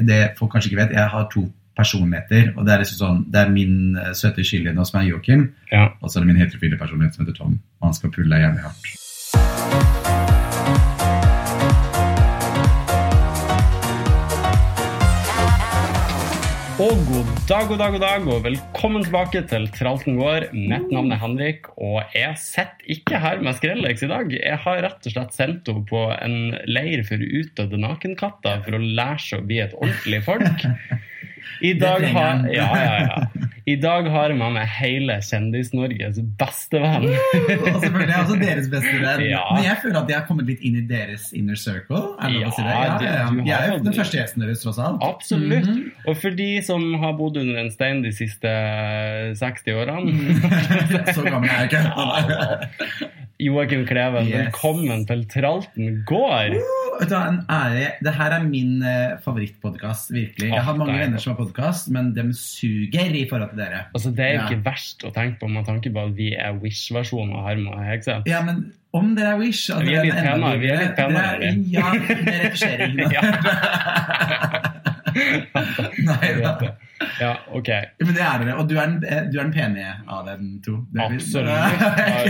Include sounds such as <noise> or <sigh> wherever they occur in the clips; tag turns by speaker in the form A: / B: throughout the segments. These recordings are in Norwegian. A: det folk kanskje ikke vet, jeg har to personligheter. og Det er liksom sånn, det er min eh, søte skyldige nå, som er Joakim,
B: Ja.
A: og så er det min heterofile personlighet som heter Tom. Og han skal pulle jævlig hardt.
B: Og god dag, god dag, god dag, og velkommen tilbake til Tralten gård. Mitt navn er Henrik, og jeg sitter ikke her med Skrellex i dag. Jeg har rett og slett sendt henne på en leir for utdødde nakenkatter for å lære seg å bli et ordentlig folk. I dag
A: trenger
B: har,
A: han.
B: ja, ja, ja. I dag har jeg med meg hele Kjendis-Norges beste venn.
A: <laughs> Og selvfølgelig er også deres beste venn.
B: Ja.
A: Men jeg føler at jeg har kommet litt inn i deres inner circle. Er det lov å si det?
B: Ja,
A: Ja,
B: det-
A: ja, ja.
B: du har
A: Jeg er jo
B: aldri-
A: den første gjesten deres, tross alt.
B: Absolutt.
A: Mhm. <laughs>
B: Og for de som har bodd under en stein de siste 60 årene
A: Så gammel er jeg ikke.
B: <laughs> Joakim Kleven,
A: Yes.
B: velkommen til Tralten gård.
A: Vet du hva, en ære. Det her er min uh, favorittpodkast, virkelig. Jeg har mange
B: Nei.
A: venner som har podkast, men de suger i forhold til dere.
B: Altså, Det er jo
A: Ja.
B: ikke verst å tenke på med tanke på at vi er Wish-versjonen av Herman og
A: <laughs>
B: Hegseth.
A: Ja, men om dere er Wish altså,
B: Vi er litt
A: dere enda
B: penere, vi er litt penere,
A: Dere er- Ja, det er
B: <laughs>
A: retusjering. da. Nei da.
B: ja, ok.
A: Men det er dere. Og du er den, du er den pene av dem to. Det er vi- <laughs>
B: Absolutt. Ja,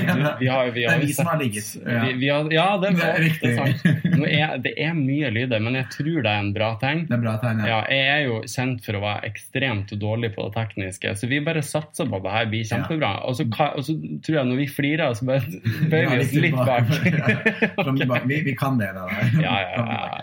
B: du- Vi har, vi
A: Det
B: har
A: er
B: jo
A: vi som
B: sett-
A: har ligget. Ja.
B: Vi, vi har, ja, det er,
A: Det er
B: det
A: riktig.
B: er sant. Nå er, det er mye lyder, men jeg tror det er en bra ting.
A: Det er bra tegn, ja.
B: Ja, jeg er jo kjent for å være ekstremt dårlig på det tekniske, så vi bare satser på at det her blir kjempebra. Og så, ka- og så tror jeg når vi flirer, så bare bøyer vi oss litt bak. <laughs>
A: Ja, fram tilbake. Vi, vi kan det, da.
B: Ja, ja, ja.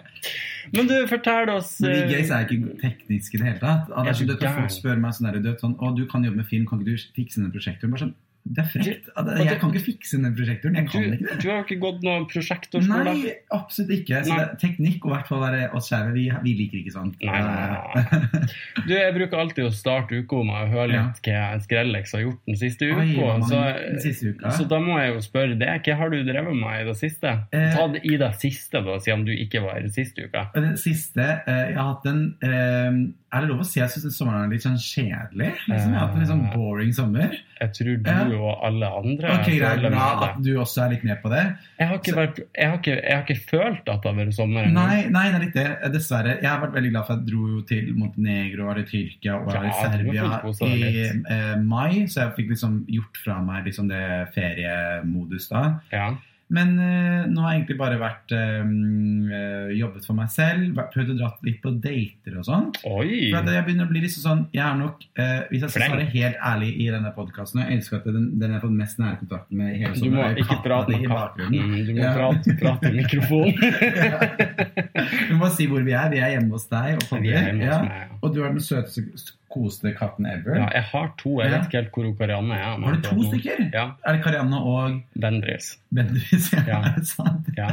B: Men du, fortell oss
A: Men vi
B: eh,
A: gays er ikke tekniske i det hele tatt. Og det
B: Er
A: er så
B: du
A: dødt at
B: gæren?
A: folk spør meg sånn der, du vet, sånn, å, du kan jobbe med film, kan ikke du fikse den prosjektoren? Bare sånn, det er frekt. At
B: og
A: Jeg
B: det-
A: kan ikke fikse den prosjektoren. Jeg kan
B: Du,
A: ikke det.
B: du har jo ikke gått noen prosjektorskole?
A: Nei, absolutt ikke. Så
B: Nei.
A: det er teknikk, og i hvert fall være oss skeive, vi, vi liker ikke sånt.
B: Nei, nei, nei,
A: <laughs>
B: nei. Du, jeg bruker alltid å starte uka med å høre litt hva Skrellex har gjort den siste
A: Oi,
B: uka.
A: hva man-
B: Så,
A: den siste uka.
B: så da må jeg jo spørre deg, hva har du drevet med i det siste?
A: Eh.
B: Ta det i det siste, da, siden du ikke var her siste uka.
A: Og den siste eh, Jeg har hatt en eh, Er det lov å si jeg syns sommeren er litt sånn kjedelig? Liksom. Jeg har hatt en litt sånn
B: Eh.
A: boring sommer.
B: Jeg tror du
A: Ja.
B: og alle andre
A: Ok, Greit,
B: føler
A: bra
B: med
A: at
B: det.
A: du også er litt med på det.
B: Jeg har ikke, vært, jeg har ikke, jeg har ikke følt at det har vært sommer engang.
A: Nei, nei, det er litt det. Dessverre. Jeg har vært veldig glad for at jeg dro jo til Montenegro og til Tyrkia og
B: Ja,
A: i
B: du
A: Serbia
B: har fått koset
A: i
B: deg litt.
A: eh, mai, så jeg fikk liksom gjort fra meg liksom det feriemodus da.
B: Ja.
A: Men eh, nå har jeg egentlig bare vært eh, eh, jobbet for meg selv, vært- prøvd å dra litt på dater og sånn.
B: Oi!
A: For at jeg begynner å bli liksom sånn Jeg er nok, eh, hvis jeg skal
B: Flink.
A: svare helt ærlig i denne podkasten Jeg elsker at den, den jeg har fått mest nære kontakt med i hele
B: Du må
A: sommeren, er
B: ikke
A: katten
B: prate
A: i
B: med
A: bakgrunnen. <laughs>
B: katten. Du må
A: Ja.
B: prate, prate i mikrofonen.
A: Vi må si hvor vi er. Vi er hjemme hos deg og
B: Vi
A: Polly.
B: er hjemme
A: Ja.
B: hos meg. ja.
A: Og du er den søteste, kosete katten ever.
B: Ja, jeg har to. Jeg
A: Ja.
B: vet ikke helt hvor hun Karianne er. men-
A: Har du to stykker?
B: Ja.
A: Er det Karianne og
B: Bendris.
A: Bendriss? <laughs>
B: Ja.
A: Er det sant?
B: Ja.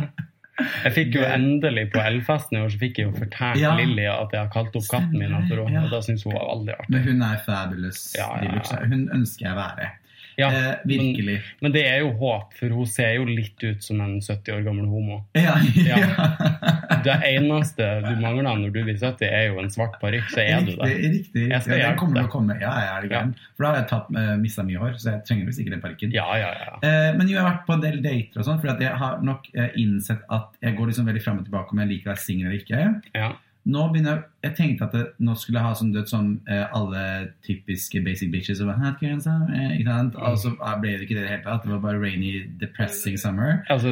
B: Jeg fikk jo endelig på Elfesten i år så fikk jeg jo fortalt
A: Ja.
B: Lilly at jeg har kalt opp katten min etter henne.
A: Ja.
B: og Det syns hun var veldig artig.
A: Men hun er fabulous.
B: Ja, ja, ja.
A: deluxe. Hun ønsker jeg å være.
B: Ja,
A: eh, virkelig.
B: Men det er jo håp, for hun ser jo litt ut som en 70 år gammel homo.
A: <laughs> Ja,
B: Ja.
A: ja.
B: Det eneste du mangler når du blir 70, er jo en svart parykk, så er du
A: Riktig.
B: det.
A: riktig.
B: Jeg
A: Ja,
B: skal
A: den
B: hjelpe
A: kommer til å
B: deg.
A: komme. Ja, jeg er det
B: Ja.
A: gæren. For da har jeg tatt, mista mye hår, så jeg trenger visst ikke den parken.
B: Ja, ja, ja.
A: Eh, men jo, jeg har vært på en del dater og sånn, for at jeg har nok eh, innsett at jeg går liksom veldig fram og tilbake om jeg liker å være singel eller ikke.
B: ja.
A: Nå begynner jeg, jeg tenkte at det, nå skulle jeg ha sånn, du vet, sånn eh, alle typiske basic bitches og bare, «Hæ, ikke sant?» eh, ikke
B: Mm.
A: sant? Og så eh, ble det ikke det i det hele tatt. Det var bare rainy, depressing summer.
B: Altså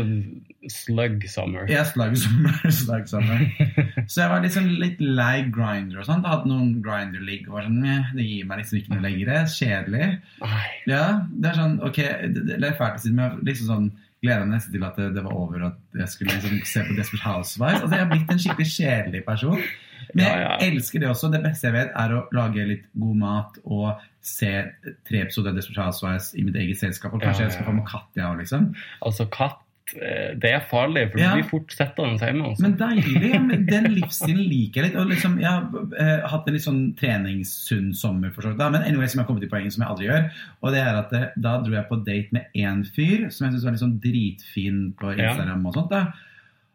B: slug
A: <laughs>
B: summer.
A: Jeg slag sommer, slag
B: <laughs>
A: sommer. Så jeg var liksom litt lei grinder og sånt. Jeg hadde noen grinder-ligg og var sånn, «Meh, det gir meg liksom
B: Mm.
A: ikke noe lenger. Kjedelig.
B: Nei.
A: Ja, det er sånn, ok, det, det er fælt å si, men jeg liksom sånn gleder meg nesten til at det, det var over, og at jeg skulle liksom se på Desperate Housewives. Altså, jeg har blitt en skikkelig kjedelig person. Men jeg
B: Ja, ja.
A: elsker det også. Det beste jeg vet, er å lage litt god mat og se tre episoder av Desperate Housewives i mitt eget selskap. Og
B: Ja,
A: kanskje
B: ja,
A: jeg skal få med katt, jeg òg, liksom.
B: Altså, katt eh, Det er farlig, for
A: Ja.
B: du blir fort sittende hjemme. Altså.
A: Men deilig. ja, men Den livsstilen liker jeg litt. Og liksom, jeg har eh, hatt en litt sånn treningssunn sommer, for så vidt. da, Men anyway, som jeg har kommet til poenget som jeg aldri gjør. Og det er at eh, da dro jeg på date med én fyr som jeg syntes var litt sånn dritfin på
B: Ja.
A: Instagram og sånt. da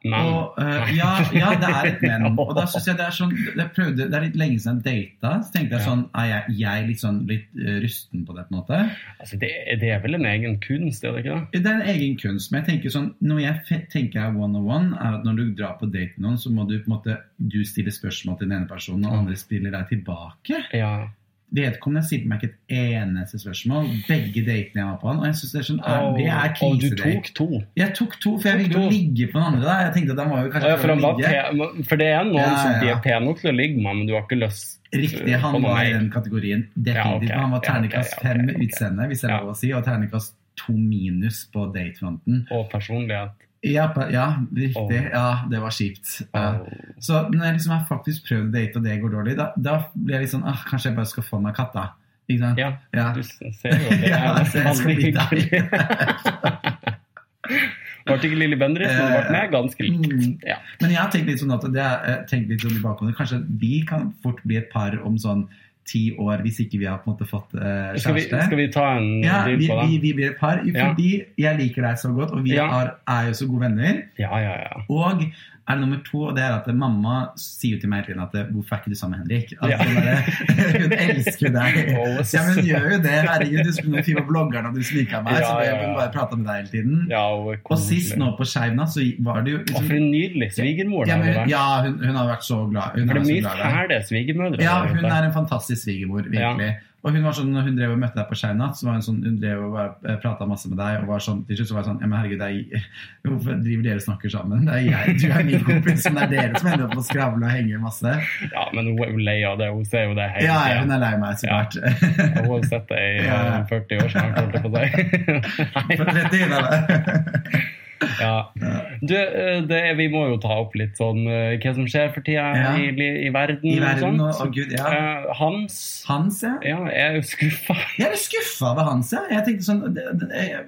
B: Men
A: Og, eh, ja, ja, det er et men. Og da synes jeg det er sånn jeg prøvde, Det er litt lenge siden jeg data. Så tenkte jeg
B: Ja.
A: sånn Er jeg, jeg litt sånn litt eh, rusten på det, på en måte?
B: altså, det, det er vel en egen kunst, er det ikke det?
A: Det er en egen kunst. Men jeg tenker sånn Når jeg fe- tenker er one on one, er at når du drar på date med noen, så må du på en måte Du stiller spørsmål til den ene personen, og andre spiller deg tilbake.
B: Ja.
A: Vedkommende stilte meg ikke et eneste spørsmål. Begge datene jeg var på han. Og jeg synes det er sånn er, Det er
B: Og du
A: krisedate.
B: tok to.
A: Jeg tok to, for jeg
B: Tok
A: ville jo
B: to.
A: ligge på den andre. da Jeg tenkte at han var jo
B: Å
A: kanskje
B: Ja, for, han var
A: prøvd å ligge.
B: pe- for det er noen
A: Ja,
B: som
A: ja.
B: de er pene nok til å ligge med, men du har ikke lyst
A: Riktig,
B: på
A: han
B: noe
A: var i
B: mer.
A: den kategorien. Definitivt.
B: Ja, ok.
A: Han var
B: Ja, ok,
A: terningkast
B: ja, ok,
A: fem med
B: ok.
A: utseende, hvis det er
B: Ja.
A: lov å si, og terningkast to minus på datefronten.
B: Og personlighet.
A: Ja, pa- ja, riktig.
B: Åh.
A: Ja, det var kjipt. Ja.
B: Og-
A: Så når jeg liksom har faktisk prøvd å date, og det går dårlig, da, da blir jeg litt sånn ah, Kanskje jeg bare skal få meg katta. Ikke sant?
B: Ja,
A: Ja.
B: du ser jo det.
A: Ja,
B: er
A: så jeg skal bli
B: veldig
A: deg.
B: hyggelig. <laughs> Ble ikke Lilly Bendriss, men det ble meg ganske
A: Mm.
B: likt. Ja.
A: Men jeg har tenkt litt sånn at det er, jeg tenker litt sånn i bakhodet. Kanskje vi kan fort bli et par om sånn ti år, hvis ikke vi har på en måte fått eh, kjæreste.
B: Skal, vi, skal vi ta en
A: Ja,
B: deal
A: vi,
B: på
A: vi,
B: det?
A: vi blir et par. jo,
B: Ja.
A: Fordi jeg liker deg så godt, og vi
B: Ja.
A: er, er jo så gode venner.
B: Ja, ja, ja.
A: Og er det nummer to, og det er at mamma sier jo til meg hele tiden at 'Hvorfor er ikke du sammen med Henrik?' Altså,
B: Ja.
A: bare, <laughs> hun elsker
B: <laughs>
A: deg.
B: Always.
A: Ja, men hun gjør jo det. Herregud, du skulle fire bloggeren, og du sminka meg.
B: Ja,
A: så det,
B: ja, ja.
A: hun bare prata med deg hele tiden.
B: Ja, og
A: Og sist nå på Skeiv natt, så var det jo
B: Å, for
A: liksom,
B: en nydelig svigermor det
A: ja,
B: hadde
A: men,
B: vært.
A: ja, hun, hun har vært så glad. Hun
B: For det
A: er
B: er
A: så
B: mye
A: glad i deg.
B: fæle svigermødre.
A: Ja,
B: der
A: hun
B: ute.
A: er en fantastisk svigermor, virkelig. Og hun var sånn, når hun drev og møtte deg på Skjernatt, så var hun sånn, hun drev og bare prata masse med deg, og var sånn, til slutt så var jeg sånn, ja, men herregud, det er, <laughs> hvorfor driver dere og snakker sammen? Det er jeg, du er min kompis, men det er dere som ender opp med å skravle og henge masse.
B: ja, men hun er jo lei av det. Hun ser jo det hele
A: Ja, ja, hun
B: tiden.
A: er lei meg, så
B: Ja.
A: klart. Ja.
B: Hun har jo sett det i
A: Ja, ja.
B: eh, 40 år snart, holdt jeg på å
A: <laughs>
B: si. <laughs>
A: For 30 år, da.
B: Ja. Du, eh, det, vi må jo ta opp litt sånn eh, hva som skjer for tida
A: Ja.
B: i, li- i verden.
A: I verden,
B: og
A: og,
B: sånt.
A: og gud, ja.
B: Eh, Hans
A: Hans, ja.
B: Ja, jeg er jo skuffa.
A: Jeg er litt skuffa over Hans, ja. Jeg tenkte sånn, det, det, jeg-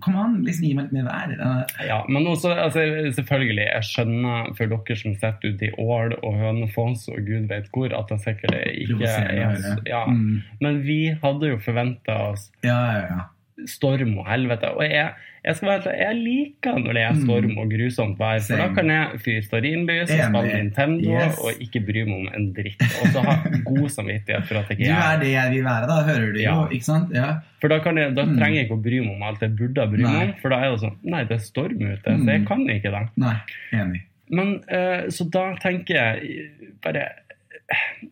A: kom an, liksom gi meg litt mer vær.
B: <laughs> Ja, men også, altså, selvfølgelig, jeg skjønner for dere som sitter ute i Ål og Hønefoss og gud vet hvor, at det sikkert ikke
A: Provoserende å
B: er
A: høre.
B: ja.
A: Mm.
B: Men vi hadde jo forventa oss
A: Ja, ja, ja.
B: storm og helvete. Og jeg, jeg skal være helt ærlig, jeg liker når det er storm og grusomt vær, for da
A: Mm. Same.
B: kan jeg fyre stearinlys og
A: Enig.
B: spille Nintendo
A: Yes.
B: og ikke bry meg om en dritt. Og så ha god samvittighet for at jeg
A: Du
B: ikke
A: er
B: er
A: det jeg vil være, da hører du jo,
B: Ja.
A: ikke sant? Ja.
B: For da, kan jeg, da
A: Mm.
B: trenger jeg ikke å bry meg om alt jeg burde bry meg om,
A: Nei.
B: for da er det sånn Nei, det er storm ute,
A: Mm.
B: så jeg kan ikke det.
A: Nei, enig.
B: Men eh, så da tenker jeg eh, bare eh,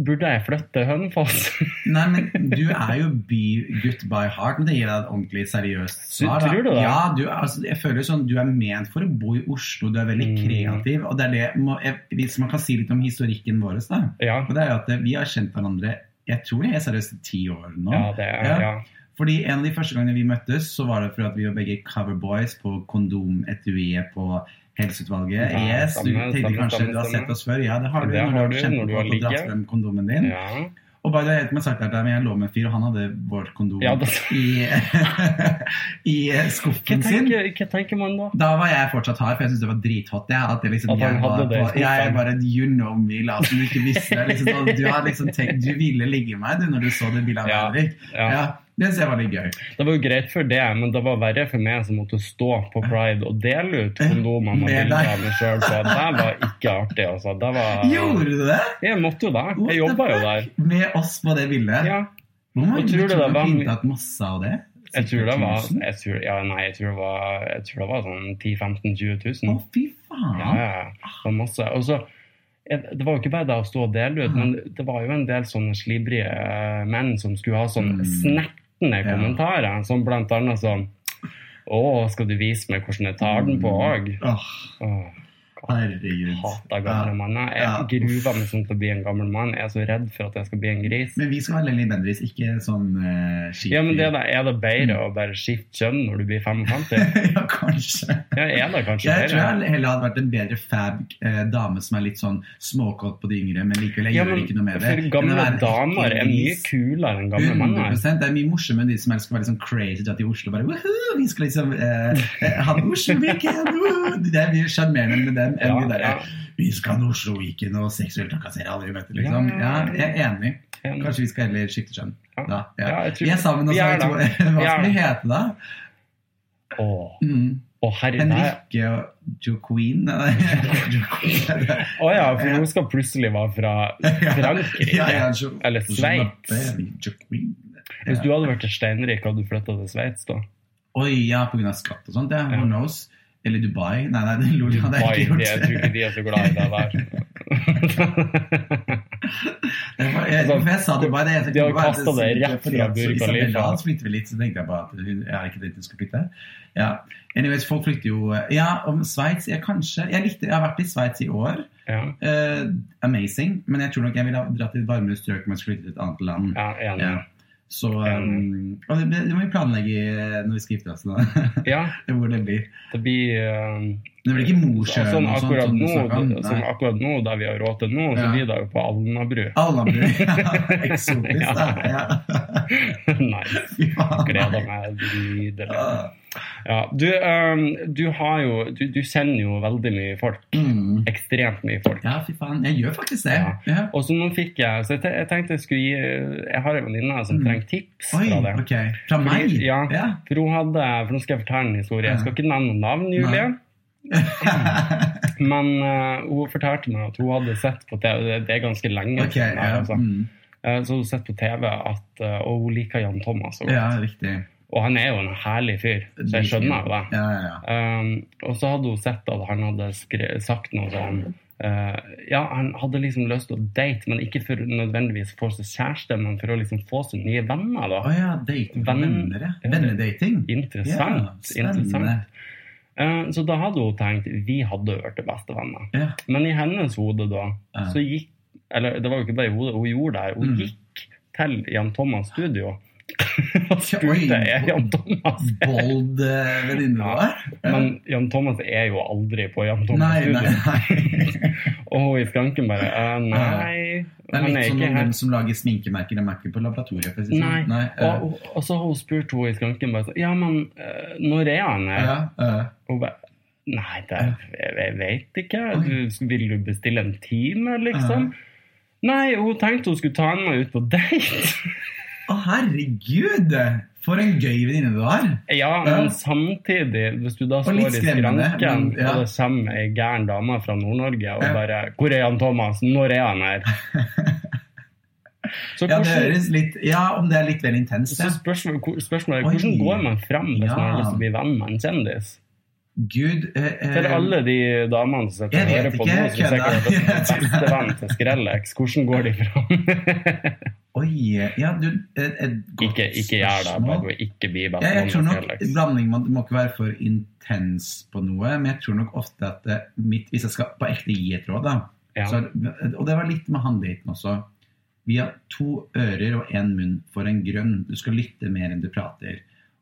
B: Burde jeg flytte til Hønefoss? <laughs>
A: Nei, men du er jo bygutt by heart, men det gir deg et ordentlig seriøst svar. da.
B: Tror du det?
A: Ja, du, er- altså, jeg føler jo sånn, du er ment for å bo i Oslo, du er veldig
B: Mm.
A: kreativ. Og det er det, må, jeg, Hvis man kan si litt om historikken vår, da.
B: ja.
A: Og det er jo at vi har kjent hverandre jeg tror jeg er seriøst i ti år nå.
B: ja, det er
A: Ja.
B: ja.
A: Fordi en av de første gangene vi møttes, så var det for at vi var begge coverboys på kondometuiet på helseutvalget.
B: Ja,
A: yes, du
B: stemmer,
A: tenkte
B: stemmer,
A: kanskje
B: stemmer,
A: du har
B: stemmer.
A: sett oss før. Ja, det har du.
B: Det har
A: når
B: du,
A: du har
B: når du har
A: kjempegod og dratt
B: ligget.
A: frem kondomen din.
B: ja.
A: Og bare det har helt meg sagt at jeg jeg lå med en fyr, og han hadde vårt kondom
B: Ja, da-
A: i, <laughs> i
B: Hva
A: skuffen sin.
B: tenker, hva tenker man da?
A: Da var jeg fortsatt hard, for jeg syntes det var drithot. Jeg, at jeg liksom,
B: At han
A: jeg
B: hadde
A: var,
B: det i
A: på-
B: skuffen.
A: jeg bare You know me, la som du ikke visste. det, Liksom, sånn, du, har liksom tenkt, du ville ligge med meg du, når du så det bildet av
B: Ja,
A: Henrik.
B: ja.
A: Ja, det synes jeg var litt gøy.
B: Det var jo greit for det, men det var verre for meg som måtte stå på Pride og dele ut kondomer med
A: Med
B: bilder
A: deg.
B: av meg sjøl, så det var ikke artig, altså. Det var
A: Gjorde du det?
B: Jeg måtte jo det.
A: What
B: Jeg jobba
A: the
B: jo der.
A: fuck? Med oss på det bildet?
B: Ja,
A: Hvor mange
B: Og tror du
A: tror
B: det
A: du
B: var-
A: pyntet masse av det?
B: jeg tror det var
A: Tusen?
B: jeg tror, Ja, nei, jeg tror det var, jeg tror det var sånn 10 000-15 000-20
A: Å,
B: 000.
A: fy faen!
B: Ja, ja, ja. Det var masse. Og så jeg- det var jo ikke bare det å stå og dele ut, men det var jo en del sånne slibrige eh, menn som skulle ha sånn
A: Mm.
B: snertne
A: Ja.
B: kommentarer, som blant annet sånn Å, skal du vise meg hvordan jeg tar den
A: Mm.
B: på òg?
A: Åh, herregud.
B: Hater gamle
A: Ja.
B: manner. Jeg
A: Ja.
B: gruer meg sånn til å bli en gammel mann. Jeg er så redd for at jeg skal bli en gris.
A: Men vi skal være Lilly Bendriss, ikke sånn uh, skip.
B: Ja, men
A: <laughs>
B: det er, da, er det bedre
A: Mm.
B: å bare skifte kjønn når du
A: <laughs>
B: blir 55?
A: ja, kanskje.
B: Ja, er det kanskje
A: Jeg tror
B: bedre?
A: jeg heller hadde vært en bedre fab eh, dame som er litt sånn småkåt på de yngre, men likevel, jeg
B: Ja,
A: gjør
B: men
A: ikke noe med det.
B: for
A: Men
B: gamle
A: å være en
B: damer er mye
A: gris,
B: kulere enn gamle menn.
A: 100 Det er mye morsommere enn de som helst skal være litt sånn crazy dratt i Oslo. bare, «Woohoo, Vi skal liksom eh, eh, ha en Oslo-weekend! woohoo!» Det er mye sjarmerende med dem enn
B: Ja,
A: de
B: ja,
A: der Vi skal ha en Oslo-weekend og seksuelt trakassere alle vi møter, liksom. Ja,
B: Ja.
A: jeg er enig.
B: ja,
A: Kanskje vi skal heller skifte kjønn.
B: Ja.
A: Da, ja.
B: ja, jeg
A: Vi er
B: tror
A: <laughs> sammen
B: Vi
A: også,
B: er
A: vi to.
B: det.
A: Hva
B: Vi er
A: skal vi
B: det.
A: hete da?
B: Åh,
A: Mm.
B: Å, herre, nei.
A: Henrikke og Jo Queen
B: <laughs>
A: Nei, Jo Queen er det.
B: Å ja, for hun skal plutselig være fra Frankrike.
A: Ja, ja, jo,
B: Eller
A: jo
B: Sveits.
A: Nappe, Jo Queen.
B: Hvis du hadde vært til steinrik, hadde du flytta til Sveits da?
A: Oi, ja, pga. skatt og sånt. Ja.
B: Ja.
A: Who knows? Eller Dubai. Nei, nei, det lol, det hadde
B: Dubai,
A: jeg ikke
B: de, jeg
A: <laughs>
B: tror ikke
A: gjort.
B: de er så glad i deg der.
A: Jeg, var- jeg,
B: Altså,
A: for jeg sa Dubai, det jeg tenkte
B: de har
A: bare at
B: kastet deg rett
A: fordi
B: fra
A: at
B: Burj Khalifa.
A: Isabella flytter vel litt, så tenkte jeg bare at hun er ikke det hun skal flytte. Ja. Anyways, folk flytter jo eh, Ja, om Sveits Jeg kanskje Jeg, likte, jeg har vært i Sveits i år.
B: ja,
A: Eh, amazing. Men jeg tror nok jeg ville ha dratt til et varmere strøk om jeg skulle flytte til et annet land.
B: ja, enig.
A: Ja. Så um, og det, det må vi planlegge når vi skal gifte oss, da.
B: Ja,
A: Hvor <laughs> det blir.
B: det blir eh,
A: Det blir ikke Mosjøen
B: sånn
A: og sånt?
B: akkurat
A: som du
B: nå,
A: snakket om?
B: det- sånn
A: Nei.
B: akkurat nå, der vi har råd til nå, så
A: Ja.
B: blir det jo på Alnabru. <laughs>
A: Alnabru. Eksotisk, da. Ja.
B: Nei,
A: Fy faen,
B: gleder
A: nei.
B: meg videre.
A: Ah,
B: Ja, du, eh, du har jo du, du kjenner jo veldig mye folk.
A: Mm.
B: Ekstremt mye folk.
A: Ja, fy faen. Jeg gjør faktisk det.
B: Ja.
A: Ja.
B: Og så nå fikk jeg Så jeg, te- jeg tenkte jeg skulle gi Jeg har en venninne som
A: Mm.
B: trenger tips
A: Oi,
B: fra det.
A: ok. Fra meg?
B: Fordi- ja. <laughs>
A: ja.
B: For hun hadde For nå skal jeg fortelle en historie. Jeg skal ikke nevne noen navn, Julie. Men eh, hun fortalte meg at hun hadde sett på TV Det, det er ganske lenge
A: ok,
B: siden. her,
A: ja.
B: altså.
A: Mm.
B: Eh, Så hun har sett på TV at eh, Og hun liker Jan Thomas. Og,
A: ja, riktig.
B: og han er jo en herlig fyr, så jeg skjønner jo det.
A: Ja, ja, ja.
B: Um, og så hadde hun sett at han hadde skre sagt noe sånn eh, Ja, han hadde liksom lyst til å date, men ikke for nødvendigvis å få seg kjæreste, men for å liksom få seg nye venner,
A: Å
B: da.
A: ja, dating for
B: Venn-
A: venner, ja.
B: Ja.
A: Vennedating. Ja,
B: Interessant. interessant.
A: spennende.
B: Eh, så da hadde hun tenkt vi hadde vært bestevenner.
A: Ja.
B: Men i hennes hode da,
A: Ja.
B: så gikk Eller det var jo ikke bare i hodet, hun gjorde det her. Hun
A: Mm.
B: gikk til Jan Thomas studio og
A: Oi.
B: spurte er Jan Thomas
A: Bold eh, venninne du
B: Ja.
A: var? Ja.
B: Men Jan Thomas er jo aldri på Jan Thomas
A: Nei, nei,
B: studio.
A: nei.
B: Og hun i skranken bare eh, Nei,
A: Det er
B: han
A: litt
B: er
A: som
B: ikke her.
A: hvem som lager sminkemerker. De er ikke på laboratoriet. for å si det
B: Nei.
A: sånn. Nei, eh,
B: Og, og, og så har hun spurt hun i skranken bare sånn Ja, men eh, når er han her?
A: ja, eh,
B: Hun bare Nei, det, jeg, jeg vet ikke.
A: Oi.
B: Du, vil du bestille en time, liksom?
A: Ja.
B: Nei, hun tenkte hun skulle ta han med ut på date. <laughs>
A: Å, herregud! For en gøy venninne du har!
B: Ja,
A: Ja.
B: men samtidig, hvis du da
A: Og
B: står
A: litt
B: i
A: skremmende,
B: skranken,
A: men- ja.
B: og det kommer ei gæren dame fra Nord-Norge og
A: Ja.
B: bare 'Hvor er han Thomas? Når er
A: <laughs>
B: han her?' Så
A: Ja, det
B: hvordan-
A: høres litt Ja, om det er litt vel intenst,
B: Så
A: ja.
B: spørsmålet, hvor- spørsmålet er
A: Oi.
B: hvordan går man fram hvis
A: Ja.
B: man har lyst til å bli venn med en kjendis?
A: Gud eh, eh,
B: Til alle de damene som
A: Jeg
B: sitter
A: vet
B: og hører på
A: ikke,
B: nå, som sikkert er
A: kødda. <laughs>
B: best- bestevenn til Skrellex, hvordan går de fram?
A: Oi! Ja, du Et, et godt
B: <laughs> ikke ikke gjør det,
A: spørsmål.
B: bare for å ikke bli
A: Ja,
B: bestevenn
A: jeg
B: med
A: tror nok
B: Skrellex.
A: blanding man må ikke være for intens på noe, men jeg tror nok ofte at eh, mitt, hvis jeg skal på ekte gi et råd, da
B: Ja.
A: så, er- Og det var litt med han daten også. Vi har to ører og én munn for en grønn. Du skal lytte mer enn du prater.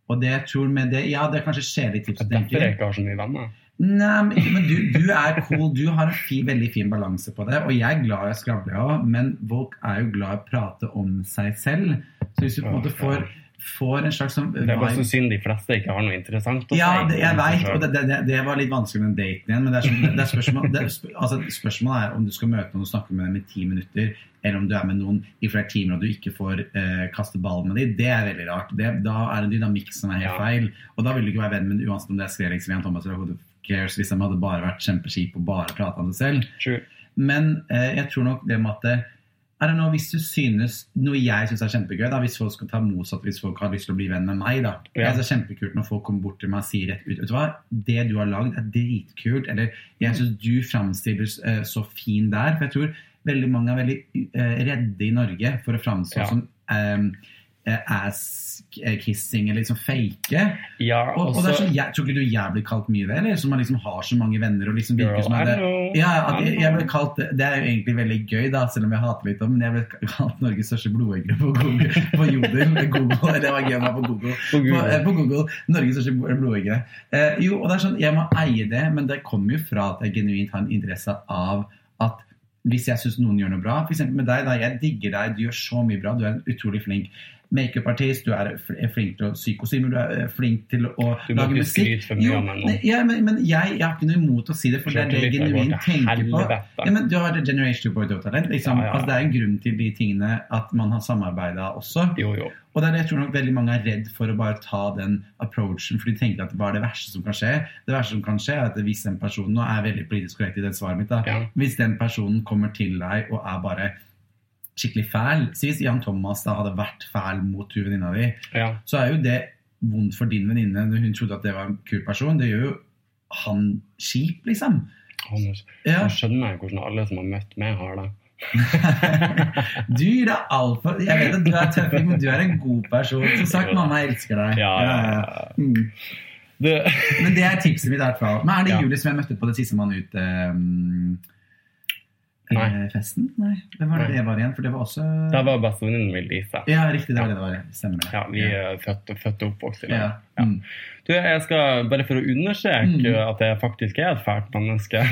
A: Og det jeg tror med det Ja, det er kanskje sjeletips.
B: Derfor jeg ikke har så mye venner.
A: Nei, men, men du, du er cool. Du har en fin, veldig fin balanse på det. Og jeg er glad i å skravle, ja, men folk er jo glad i å prate om seg selv. Så hvis du på en måte får, får en slags sånn
B: Det er bare så
A: vibe-
B: synd de fleste ikke har noe interessant å si.
A: ja, det, jeg vet, og det, det, det- det var litt vanskelig med den daten igjen. Men det er, sånn, det er spørsmål, det er, sp- altså, spørsmålet er om du skal møte noen og snakke med dem i ti minutter, eller om du er med noen i flere timer og du ikke får eh, kaste ball med dem. Det er veldig rart. Det, da er det en dynamikk som er helt
B: Ja.
A: feil. Og da vil du ikke være venn med dem, uansett om det er Skrelix eller Jan Thomas eller Hodet Cares, hvis de hadde bare vært kjempeskip og bare prata om det selv.
B: True.
A: Men eh, jeg tror nok det med at det- I don't know, hvis du synes Noe jeg syns er kjempegøy, da, hvis folk skal ta motsatt hvis folk har lyst til å bli venn med meg, da.
B: Ja.
A: Jeg synes det er kjempekult når folk kommer bort til meg og sier rett ut Vet du hva, det du har lagd, er dritkult. Eller jeg syns du framstiller eh, så fin der. For jeg tror veldig mange er veldig eh, redde i Norge for å framstå
B: Ja.
A: som eh, ass-kissing eller liksom fake.
B: Ja,
A: Og,
B: altså
A: og
B: også-
A: det er sånn, jeg, Tror ikke du jeg blir kalt mye det, eller? Som man liksom har så mange venner og liksom virker
B: Girl,
A: som
B: I
A: er det
B: know.
A: ja, at jeg, jeg ble
B: I know.
A: kalt, Det er jo egentlig veldig gøy, da, selv om jeg hater litt om men jeg ble kalt Norges største blodegger på Google. På Jodel, Google, det var gøy å være på Google.
B: På
A: På,
B: Google.
A: eh, på Google, Norges største blodegger. Eh, jo, og det er sånn, Jeg må eie det, men det kommer jo fra at jeg genuint har en interesse av at hvis jeg syns noen gjør noe bra, f.eks. med deg, da, jeg digger deg, du gjør så mye bra, du er en utrolig flink makeupartist, du er fl- er flink til å sy kostymer, du er eh, flink til å
B: Du må
A: lage
B: ikke
A: musikk.
B: skryte for mye
A: Jo,
B: av meg nå.
A: nei, ja, men, men jeg, jeg har ikke noe imot å si det, for det er det jeg
B: Selvtilliten går
A: genuint
B: til
A: tenker på.
B: helvete.
A: Ja, men du har det Generation 2.0-talent. Liksom.
B: Ja, ja, ja.
A: altså, det er en grunn til de tingene at man har samarbeida også.
B: Jo, jo.
A: Og det er det jeg tror nok veldig mange er redd for å bare ta den approachen, for de tenker at hva er det verste som kan skje? Det verste som kan skje er at hvis den personen, nå er jeg veldig politisk korrekt i det svaret mitt da,
B: Ja.
A: hvis den personen kommer til deg og er bare skikkelig fæl, si hvis Jan Thomas da hadde vært fæl mot hun venninna di,
B: Ja.
A: så er jo det vondt for din venninne, når hun trodde at det var en kul person, det gjør jo han kjip, liksom.
B: Å, nå-
A: Ja.
B: Nå skjønner jeg hvordan alle som har møtt meg, har det.
A: Du gir deg alt for, jeg vet at du er tøffing, men du er en god person. Som sagt,
B: Jo da.
A: mamma elsker deg.
B: Ja, ja, ja.
A: Mm.
B: Det,
A: Men det er tipset mitt i hvert fall. Men er det
B: Ja.
A: Julie som jeg møtte på det siste mann ut-festen?
B: Nei.
A: Mm. eh, festen? Nei. Hvem var det
B: Nei.
A: det var igjen? For det var også
B: det var bestevenninnen min, Lise.
A: Ja, riktig. Det var det det var. ja. Stemmer det.
B: Ja, vi eh, er født, født og oppvokst i
A: Ja.
B: lag.
A: Mm. <laughs>
B: Du, jeg skal, bare for å understreke
A: Mm. Sånn
B: at jeg faktisk er et fælt menneske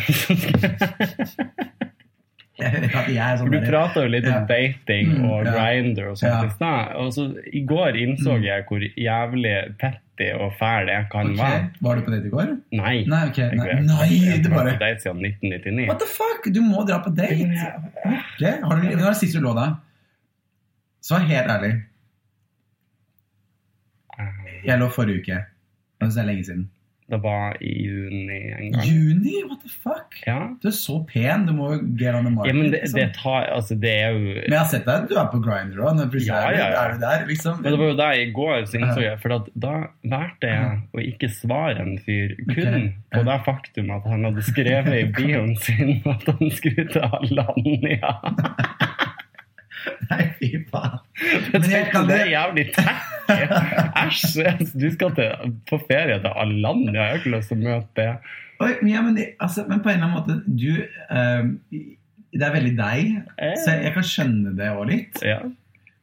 B: <laughs>
A: Jeg, jeg er sånn
B: For du
A: der-
B: prata jo litt om
A: Ja.
B: dating
A: Mm,
B: og
A: ja.
B: grinder og sånt
A: Ja.
B: i stad. Og så i går innså
A: Mm.
B: jeg hvor jævlig petty og fæl jeg kan
A: Ok,
B: være.
A: Var du på date i går?
B: Nei.
A: Nei, ok.
B: Jeg
A: Nei,
B: vet.
A: Nei
B: Jeg
A: du
B: har
A: bare
B: vært på date siden 1999.
A: What the fuck? Du må dra på date! Ok, Har du, når var det sist du lå da? Svar helt ærlig. Jeg lå forrige uke. Jeg synes Det er lenge siden.
B: Det var i juni en gang.
A: Juni? What the fuck?
B: Ja,
A: Du er så pen. Du må jo get on the market.
B: ja men det,
A: liksom.
B: det tar Altså, det er jo
A: Men jeg har sett deg, du er på Grindr òg.
B: Ja, ja, ja.
A: Er du der, liksom?
B: Men det var jo der i går, så innså jeg, for at da valgte jeg å ikke svare en fyr kun
A: Ok.
B: på det faktum at han hadde skrevet
A: <laughs>
B: i bioen sin at han skulle til Alanya.
A: Nei, fy
B: <laughs>
A: faen.
B: Jeg
A: Men jeg
B: tenkte,
A: kan-
B: det er jævlig tacky. Æsj! altså, Du skal til, på ferie til Alanya, jeg har ikke lyst til å møte det.
A: Oi, men ja, men, det- altså, men på en eller annen måte, du eh, Det er veldig deg. Så jeg, jeg kan skjønne det òg litt.
B: Eh, Ja.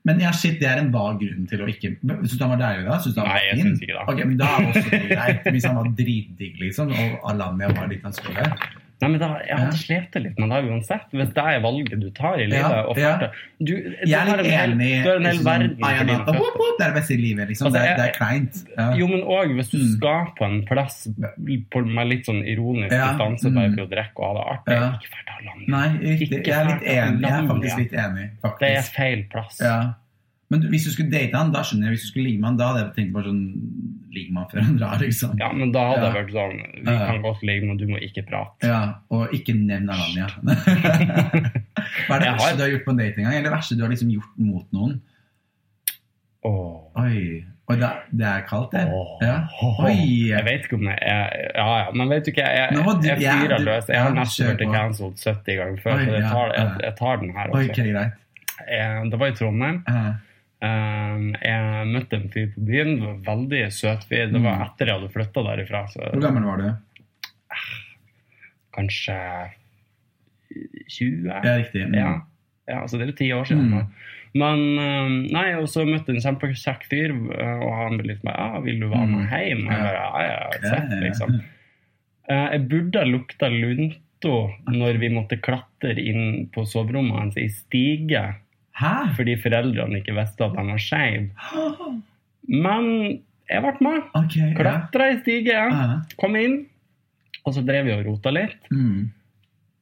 A: Men ja, shit, det er en vag grunn til å ikke Syns du han var deilig da? Synes du han var
B: Nei, jeg
A: fin?
B: synes ikke det.
A: Ok, men da er det også greit, hvis han var dritdigg, liksom, og Alanya var litt av en skole.
B: Nei, men da, jeg
A: Ja.
B: hadde slept litt med det uansett. Hvis det er valget du tar i livet
A: Ja,
B: og
A: ja.
B: farter- du, du
A: Jeg er
B: har en
A: litt
B: hel-
A: enig.
B: Du har en hel
A: liksom,
B: verden for
A: Ayana,
B: dine føtter.
A: whoop, whoop, Det er det beste i livet, liksom.
B: Altså,
A: det, er,
B: jeg-
A: det er kleint. Ja.
B: Jo, men òg hvis du
A: Mm.
B: skal på en plass på, med litt sånn ironisk
A: Ja,
B: distanse
A: mm.
B: bare for å drikke og ha det artig,
A: Ja.
B: ikke vær til Alanya.
A: Nei, riktig.
B: Ikke
A: Jeg er litt
B: fælt,
A: enig. Jeg er
B: Alanya.
A: faktisk litt enig, faktisk.
B: Det er feil plass.
A: Ja. Men du, hvis du skulle date han, da skjønner jeg. Hvis du skulle ligge med han, da hadde jeg tenkt bare sånn Ligger man før han drar, liksom?
B: Ja, men da hadde
A: Ja.
B: jeg vært sånn Vi
A: Ja.
B: kan godt ligge, men du må ikke prate.
A: Ja, og ikke nevn
B: <laughs>
A: Alanya. Hva er det
B: Jeg har-
A: verste du har gjort på en date en gang? Eller det verste du har liksom gjort mot noen?
B: Åh.
A: Oi. Oi, det, er- det er kaldt, det.
B: Åh.
A: Ja.
B: Jeg
A: Oi.
B: vet ikke om jeg er- Ja, ja, men vet du ikke, jeg,
A: Nå må
B: jeg,
A: du-
B: jeg
A: ja,
B: fyrer
A: du-
B: løs. Jeg
A: ja,
B: har nesten
A: kjør
B: blitt
A: på.
B: cancelled 70 ganger før,
A: Oi,
B: så jeg
A: ja,
B: tar, jeg,
A: ja.
B: jeg tar den her
A: Oi,
B: også.
A: ok, greit.
B: Eh, Det var i Trondheim.
A: Ja.
B: Eh, Jeg møtte en fyr på byen. Det var Veldig søt fyr. Det var
A: Mm.
B: etter jeg hadde flytta derifra. Så
A: Hvor gammel var du?
B: kanskje 20?
A: Ja, riktig. Mm.
B: Ja. ja, så det er jo ti år siden.
A: Mm.
B: da. Men eh, nei, og så møtte jeg en kjempekjekk fyr, eh, og han ble litt mer ja, 'Vil du være med
A: Mm.
B: hjem?' Og jeg bare, ja, ja, sett,
A: Ja, ja, ja.
B: liksom. Eh, jeg burde ha lukta lunto når vi måtte klatre inn på soverommet hans i stige
A: Hæ? <gasps>
B: fordi foreldrene ikke visste at han var skeiv.
A: Ok,
B: Men jeg ble med.
A: ja. Ah.
B: Klatra i stige,
A: Ja.
B: kom inn, og så drev vi og rota litt.
A: Mm.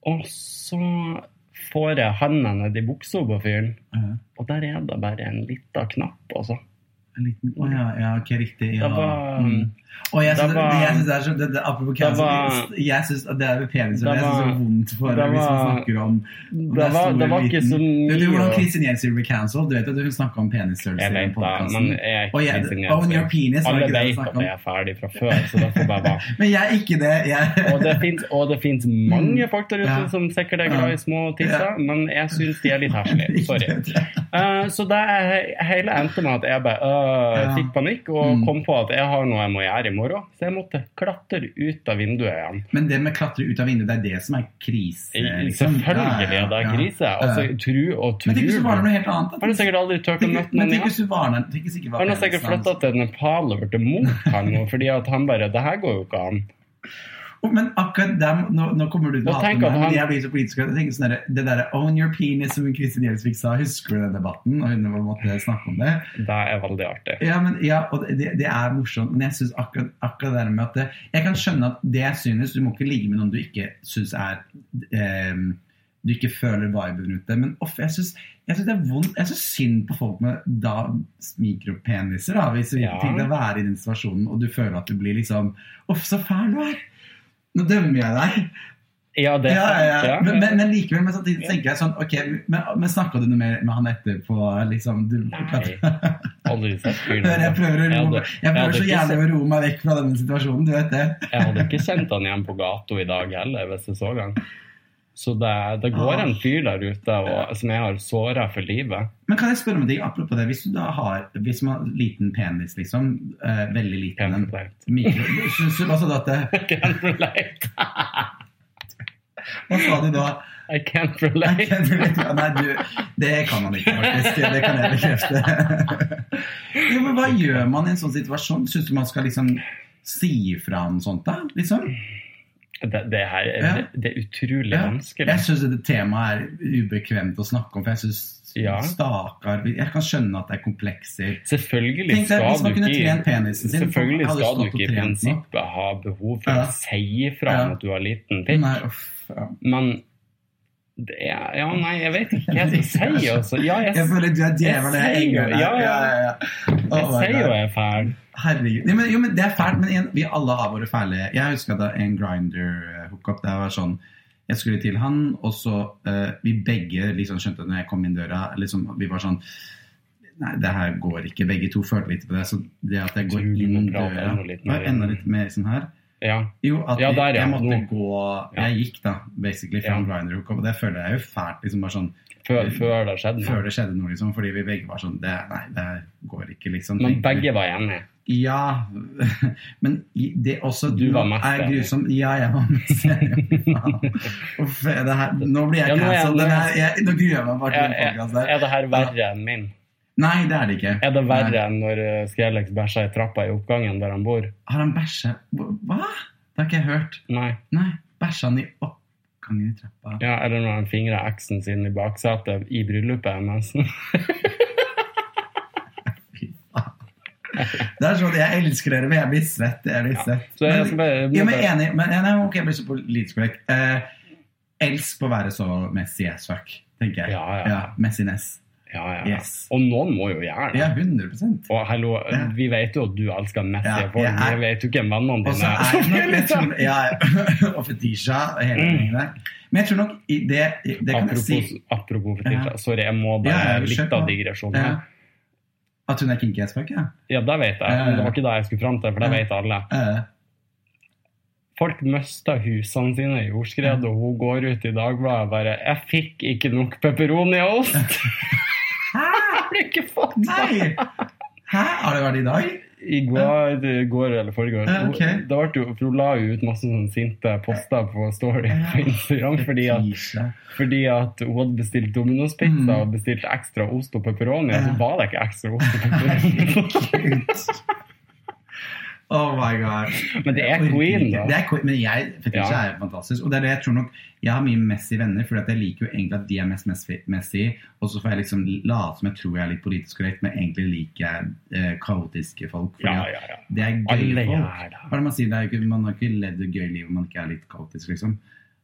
B: Og så får jeg handa ned i buksa på fyren,
A: Ja.
B: og der er det bare en liten knapp, altså.
A: En liten, å ja, ja, ok, riktig. Ja.
B: Det var-
A: mm. Og jeg
B: det
A: syns det,
B: var-
A: jeg synes det er så det, det, Apropos
B: det
A: cancel,
B: var-
A: jeg syns at det er ved penis,
B: det
A: men jeg syns det
B: var-
A: er vondt for
B: det
A: hvis man
B: var-
A: snakker om
B: Det var, det var ikke så
A: Du vet jo
B: mye
A: hvordan
B: å-
A: Kristin Jensen ble cancelled? Du vet at hun snakka om penisstørrelse i
B: Jeg vet det, men
A: podkasten?
B: jeg er
A: Oh,
B: ikke
A: yeah,
B: insinuert.
A: own your penis, var
B: Alle
A: det ikke det vi
B: vet at
A: snakket om?
B: jeg er ferdig fra før, så da får bare være.
A: Men jeg er ikke det. Jeg...
B: Og det fins- Og det fins mange folk der ute
A: Mm. Ja.
B: som sikkert er glad i små
A: Ja.
B: tisser, men jeg syns de er litt
A: <laughs>
B: herslige. Sorry. Eh, så det he- hele endte med at jeg bare øh,
A: Ja.
B: fikk panikk og
A: Mm.
B: kom på at jeg har noe jeg må gjøre i morgen. Så jeg måtte klatre ut av vinduet igjen.
A: Men det med å klatre ut av vinduet, det er det som er krise? liksom.
B: Eh, Selvfølgelig
A: Ja, ja,
B: det er
A: ja.
B: krise. Altså, tru og tru.
A: Men tenk hvis du var det
B: Han
A: noe helt annet?
B: har sikkert aldri turt å
A: Tenk,
B: møte
A: men
B: noen
A: tenk
B: igjen.
A: hvis du var der tenk hvis det ikke var
B: Han har
A: penisen
B: sikkert
A: hans.
B: flytta til Nepal og blitt mot han nå, fordi at han bare Det her går jo ikke an.
A: Og- Men akkurat der, nå, nå kommer du til å
B: Og
A: hate
B: tenk
A: meg,
B: at
A: men
B: han-
A: jeg blir så politisk korrekt. Jeg tenker sånn der, Det derre 'own your penis' som Kristin Gjelsvik sa, husker du den debatten? Og hun måtte snakke om det.
B: Det er veldig artig.
A: Ja, men, ja og det, det er morsomt, men jeg synes akkurat, akkurat det der med at det, Jeg kan skjønne at det jeg synes Du må ikke ligge med noen du ikke synes er eh, Du ikke føler viben rundt det. Men ofte, jeg synes, jeg synes det er vondt Jeg synes synd på folk med da mikropeniser, da, hvis du
B: Ja.
A: tenk deg å være i den situasjonen og du føler at du blir liksom Uff, så fæl du er! Nå dømmer jeg deg!
B: Ja, det er
A: ja,
B: sant.
A: ja, ja.
B: ja.
A: Men, men, men likevel, men samtidig
B: Ja.
A: tenker jeg sånn Ok, men, men snakka du noe mer med han etterpå? Liksom, du,
B: Nei.
A: <laughs>
B: Aldri sett fyren.
A: Hør, jeg prøver, å
B: Jeg
A: roe,
B: hadde-
A: jeg
B: hadde
A: prøver så
B: ikke
A: gjerne
B: sett-
A: å roe meg vekk fra denne situasjonen, du vet det.
B: Jeg hadde ikke kjent han igjen på gata i dag heller, hvis jeg så han. Så det, det
A: Ah.
B: går en fyr der ute og, som jeg har såra for livet.
A: Men kan jeg spørre om en ting apropos det? Hvis du da har hvis man har liten penis, liksom, eh, veldig liten en
B: Can't
A: mikro, synes du, Hva sa du at det,
B: relate.
A: Hva sa du da?
B: I can't
A: Nei,
B: relate.
A: jeg tror ikke- nei, du, det kan man ikke, faktisk. Det kan jeg bekrefte. Jo, men hva gjør man i en sånn situasjon? Syns du man skal liksom si ifra om sånt, da? Liksom?
B: Det, det her er,
A: Ja.
B: det, er utrolig
A: Ja.
B: vanskelig.
A: Jeg syns dette temaet er ubekvemt å snakke om, for jeg syns
B: Ja.
A: stakar Jeg kan skjønne at det er komplekser.
B: Selvfølgelig
A: Tenk deg,
B: skal
A: hvis
B: du
A: man kunne
B: ikke
A: trent penisen sin
B: Selvfølgelig
A: folk hadde
B: skal du
A: stått og
B: ikke i
A: trent nå.
B: prinsippet ha behov for
A: Ja.
B: å si ifra
A: Ja.
B: om at du har liten pikk,
A: Nei, uff, ja.
B: men det er, Ja, nei, jeg vet ikke hva jeg skal
A: <laughs>
B: si, altså. Ja, jeg,
A: Jeg
B: jeg,
A: føler du er djevelen
B: Jeg
A: jeg
B: sier jo-
A: engler
B: ja, ja.
A: Oh my
B: sier jo
A: God.
B: jeg er fæl.
A: Herregud. Nei, men, jo, men det er fælt, men igjen, vi alle har våre fæle Jeg husker da en grinder-hookup. Det var sånn Jeg skulle til han, og så eh, Vi begge liksom skjønte når jeg kom inn døra liksom, Vi var sånn Nei, det her går ikke. Begge to følte litt på det. Så det at jeg går
B: Tror du må
A: inn
B: prate
A: døra
B: enda litt mer
A: Ja, Enda litt mer sånn her.
B: Ja.
A: Jo, at
B: Ja,
A: jeg-
B: der, ja.
A: jeg måtte
B: Nå.
A: gå Jeg gikk da, basically, fra
B: Ja.
A: en grinder-hookup. Og det føler jeg jo fælt. liksom bare sånn
B: Før, før det har skjedd.
A: Før det skjedde noe, liksom. Fordi vi begge var sånn det, Nei, det her går ikke, liksom.
B: Men
A: tenkte vi.
B: begge var enige.
A: Ja, <laughs> men i- det er også
B: Du var mest
A: er
B: enig.
A: grusom. Ja, jeg var
B: <laughs>
A: mest enig. Faen. Uff, det her, nå blir jeg
B: Ja, nå er jeg-
A: cancelled.
B: nå
A: Den
B: er jeg-
A: her- jeg- Nå gruer jeg meg bare til den
B: Er,
A: podkasten
B: er
A: der.
B: det her verre enn min?
A: Nei, det er det ikke.
B: Er det verre
A: Nei.
B: enn når eh, Skrellex bæsja i trappa i oppgangen der han bor?
A: Har han bæsja Hva? Det har ikke jeg hørt.
B: Nei.
A: Nei, bæsja han i oppgangen i trappa?
B: Ja, eller når han fingrer eksen sin i baksetet i bryllupet hennes.
A: Det er sånn, Jeg elsker dere, men jeg blir svett. Jeg blir
B: Ja.
A: svett.
B: Så jeg
A: Men-
B: skal bare,
A: Ja, men enig, men ja, nei, ok, jeg blir så politisk korrekt. Eh, elsk å være så messy as fuck, tenker jeg.
B: Ja, ja.
A: messiness.
B: ja, ja.
A: Yes.
B: Og noen må jo gjøre det.
A: Ja, 100
B: Og hallo,
A: Ja.
B: vi vet jo at du elsker Messi,
A: Ja,
B: folk.
A: jeg er-
B: jeg vet jo ikke hvem vennene
A: Og så
B: dine
A: er
B: er.
A: det
B: <laughs>
A: nok sånn- jeg tror, <laughs> ja, Og fetisja og hele
B: sånn. Mm.
A: gjengen der. Men jeg tror nok i det, i- det kan jeg
B: Apropos, sånn,
A: si
B: apropos fetisjer.
A: Ja.
B: Sorry, jeg må
A: Ja,
B: bare
A: ja, vi
B: litt
A: kjører på.
B: av digresjonen.
A: ja.
B: Ja.
A: eh, At hun er kinky as fuck, ja.
B: det vet jeg,
A: Ja, ja,
B: men det
A: ja.
B: var ikke det jeg skulle fram til, for det
A: Ja.
B: vet alle.
A: Eh,
B: Folk mista husene sine i jordskred, og hun går ut i Dagbladet og bare 'Jeg fikk ikke nok pepperoni og ost'. <laughs>
A: Hæ?
B: Jeg har ikke fått det!
A: Nei! Hæ? Har det vært i dag?
B: I går, i går eller forrige
A: Ja, ok.
B: Da ble jo, for hun la jo ut masse sånne sinte poster på Story
A: Ja.
B: på Instagram fordi at,
A: Fetisja.
B: fordi at hun hadde bestilt Domino's-pizza
A: Mm.
B: og bestilt ekstra ost og pepperoni, og så
A: Ja.
B: var det ikke ekstra ost og
A: <laughs>
B: pepperoni. <laughs>
A: Herregud. Oh my god.
B: Men det er
A: Jeg orker
B: queen,
A: ikke. Det
B: da.
A: er queen, men jeg, fetisja
B: Ja.
A: er fantastisk. Og det er det jeg tror nok Jeg har mye Messi venner, Fordi at jeg liker jo egentlig at de er mest Messi- Messi. Og så får jeg liksom late som jeg tror jeg er litt politisk korrekt, men egentlig liker jeg eh, kaotiske folk. Fordi
B: Ja,
A: at
B: ja, ja.
A: det er gøye
B: Alle
A: folk.
B: gjør det.
A: Hva er det man sier? Det er jo ikke, man har ikke levd et gøy liv om man ikke er litt kaotisk, liksom.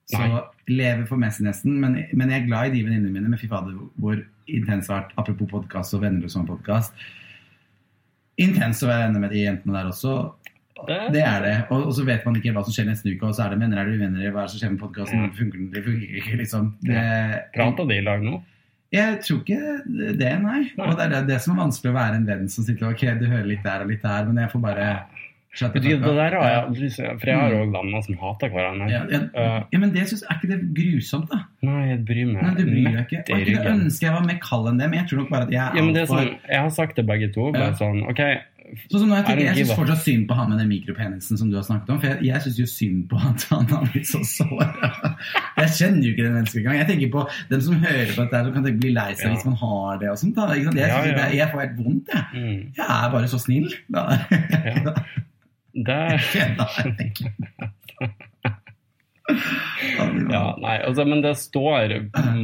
A: Så
B: Nei.
A: lever for Messi nesten. Men, men jeg er glad i de venninnene mine, men fy fader hvor intens har vært. Apropos podkast og venner og sånn podkast. Intens å være venner med de jentene der også.
B: Det-
A: Det er det. Og, og så vet man ikke hva som skjer neste uke, og så er det venner er det uvenner, hva er det som skjer med podkasten,
B: Ja.
A: funker den, det funker ikke, liksom. Det,
B: Prata de i lag nå?
A: jeg tror ikke det, nei.
B: Nei.
A: Og det er det, det som er vanskelig å være en venn som sitter og ok, du hører litt der og litt der, men jeg får bare shut the
B: Vet du,
A: fuck
B: det
A: up.
B: der har jeg aldri sett, for jeg har òg venner som hater hverandre.
A: Mm. ja, ja,
B: Eh,
A: ja, men det synes, Er ikke det grusomt, da?
B: nei, jeg bryr meg.
A: Nei, du bryr deg ikke.
B: Mett i
A: Og ikke det
B: ryggen.
A: ønsker jeg var mer kald enn det, men jeg tror nok bare at jeg er
B: Ja, men det er
A: altfor-
B: sånn, jeg har sagt til begge to. Bare
A: Ja.
B: sånn, ok,
A: Sånn som nå, jeg
B: I
A: tenker,
B: don't
A: jeg
B: give
A: syns
B: a-
A: fortsatt synd på han med den mikropenisen som du har snakket om. For jeg, jeg syns jo synd på at han har blitt så sår. <laughs> Jeg kjenner jo ikke den mennesket engang. Jeg tenker på dem som hører på dette, her, som kan tenke bli lei seg
B: Ja.
A: hvis man har det og sånt. Da. Ikke sant? Jeg,
B: Ja,
A: synes jo
B: ja.
A: det- jeg får helt vondt, jeg.
B: mm,
A: Jeg er bare <laughs> så snill. Da.
B: <laughs> det
A: Da-
B: ja, nei, altså, men det står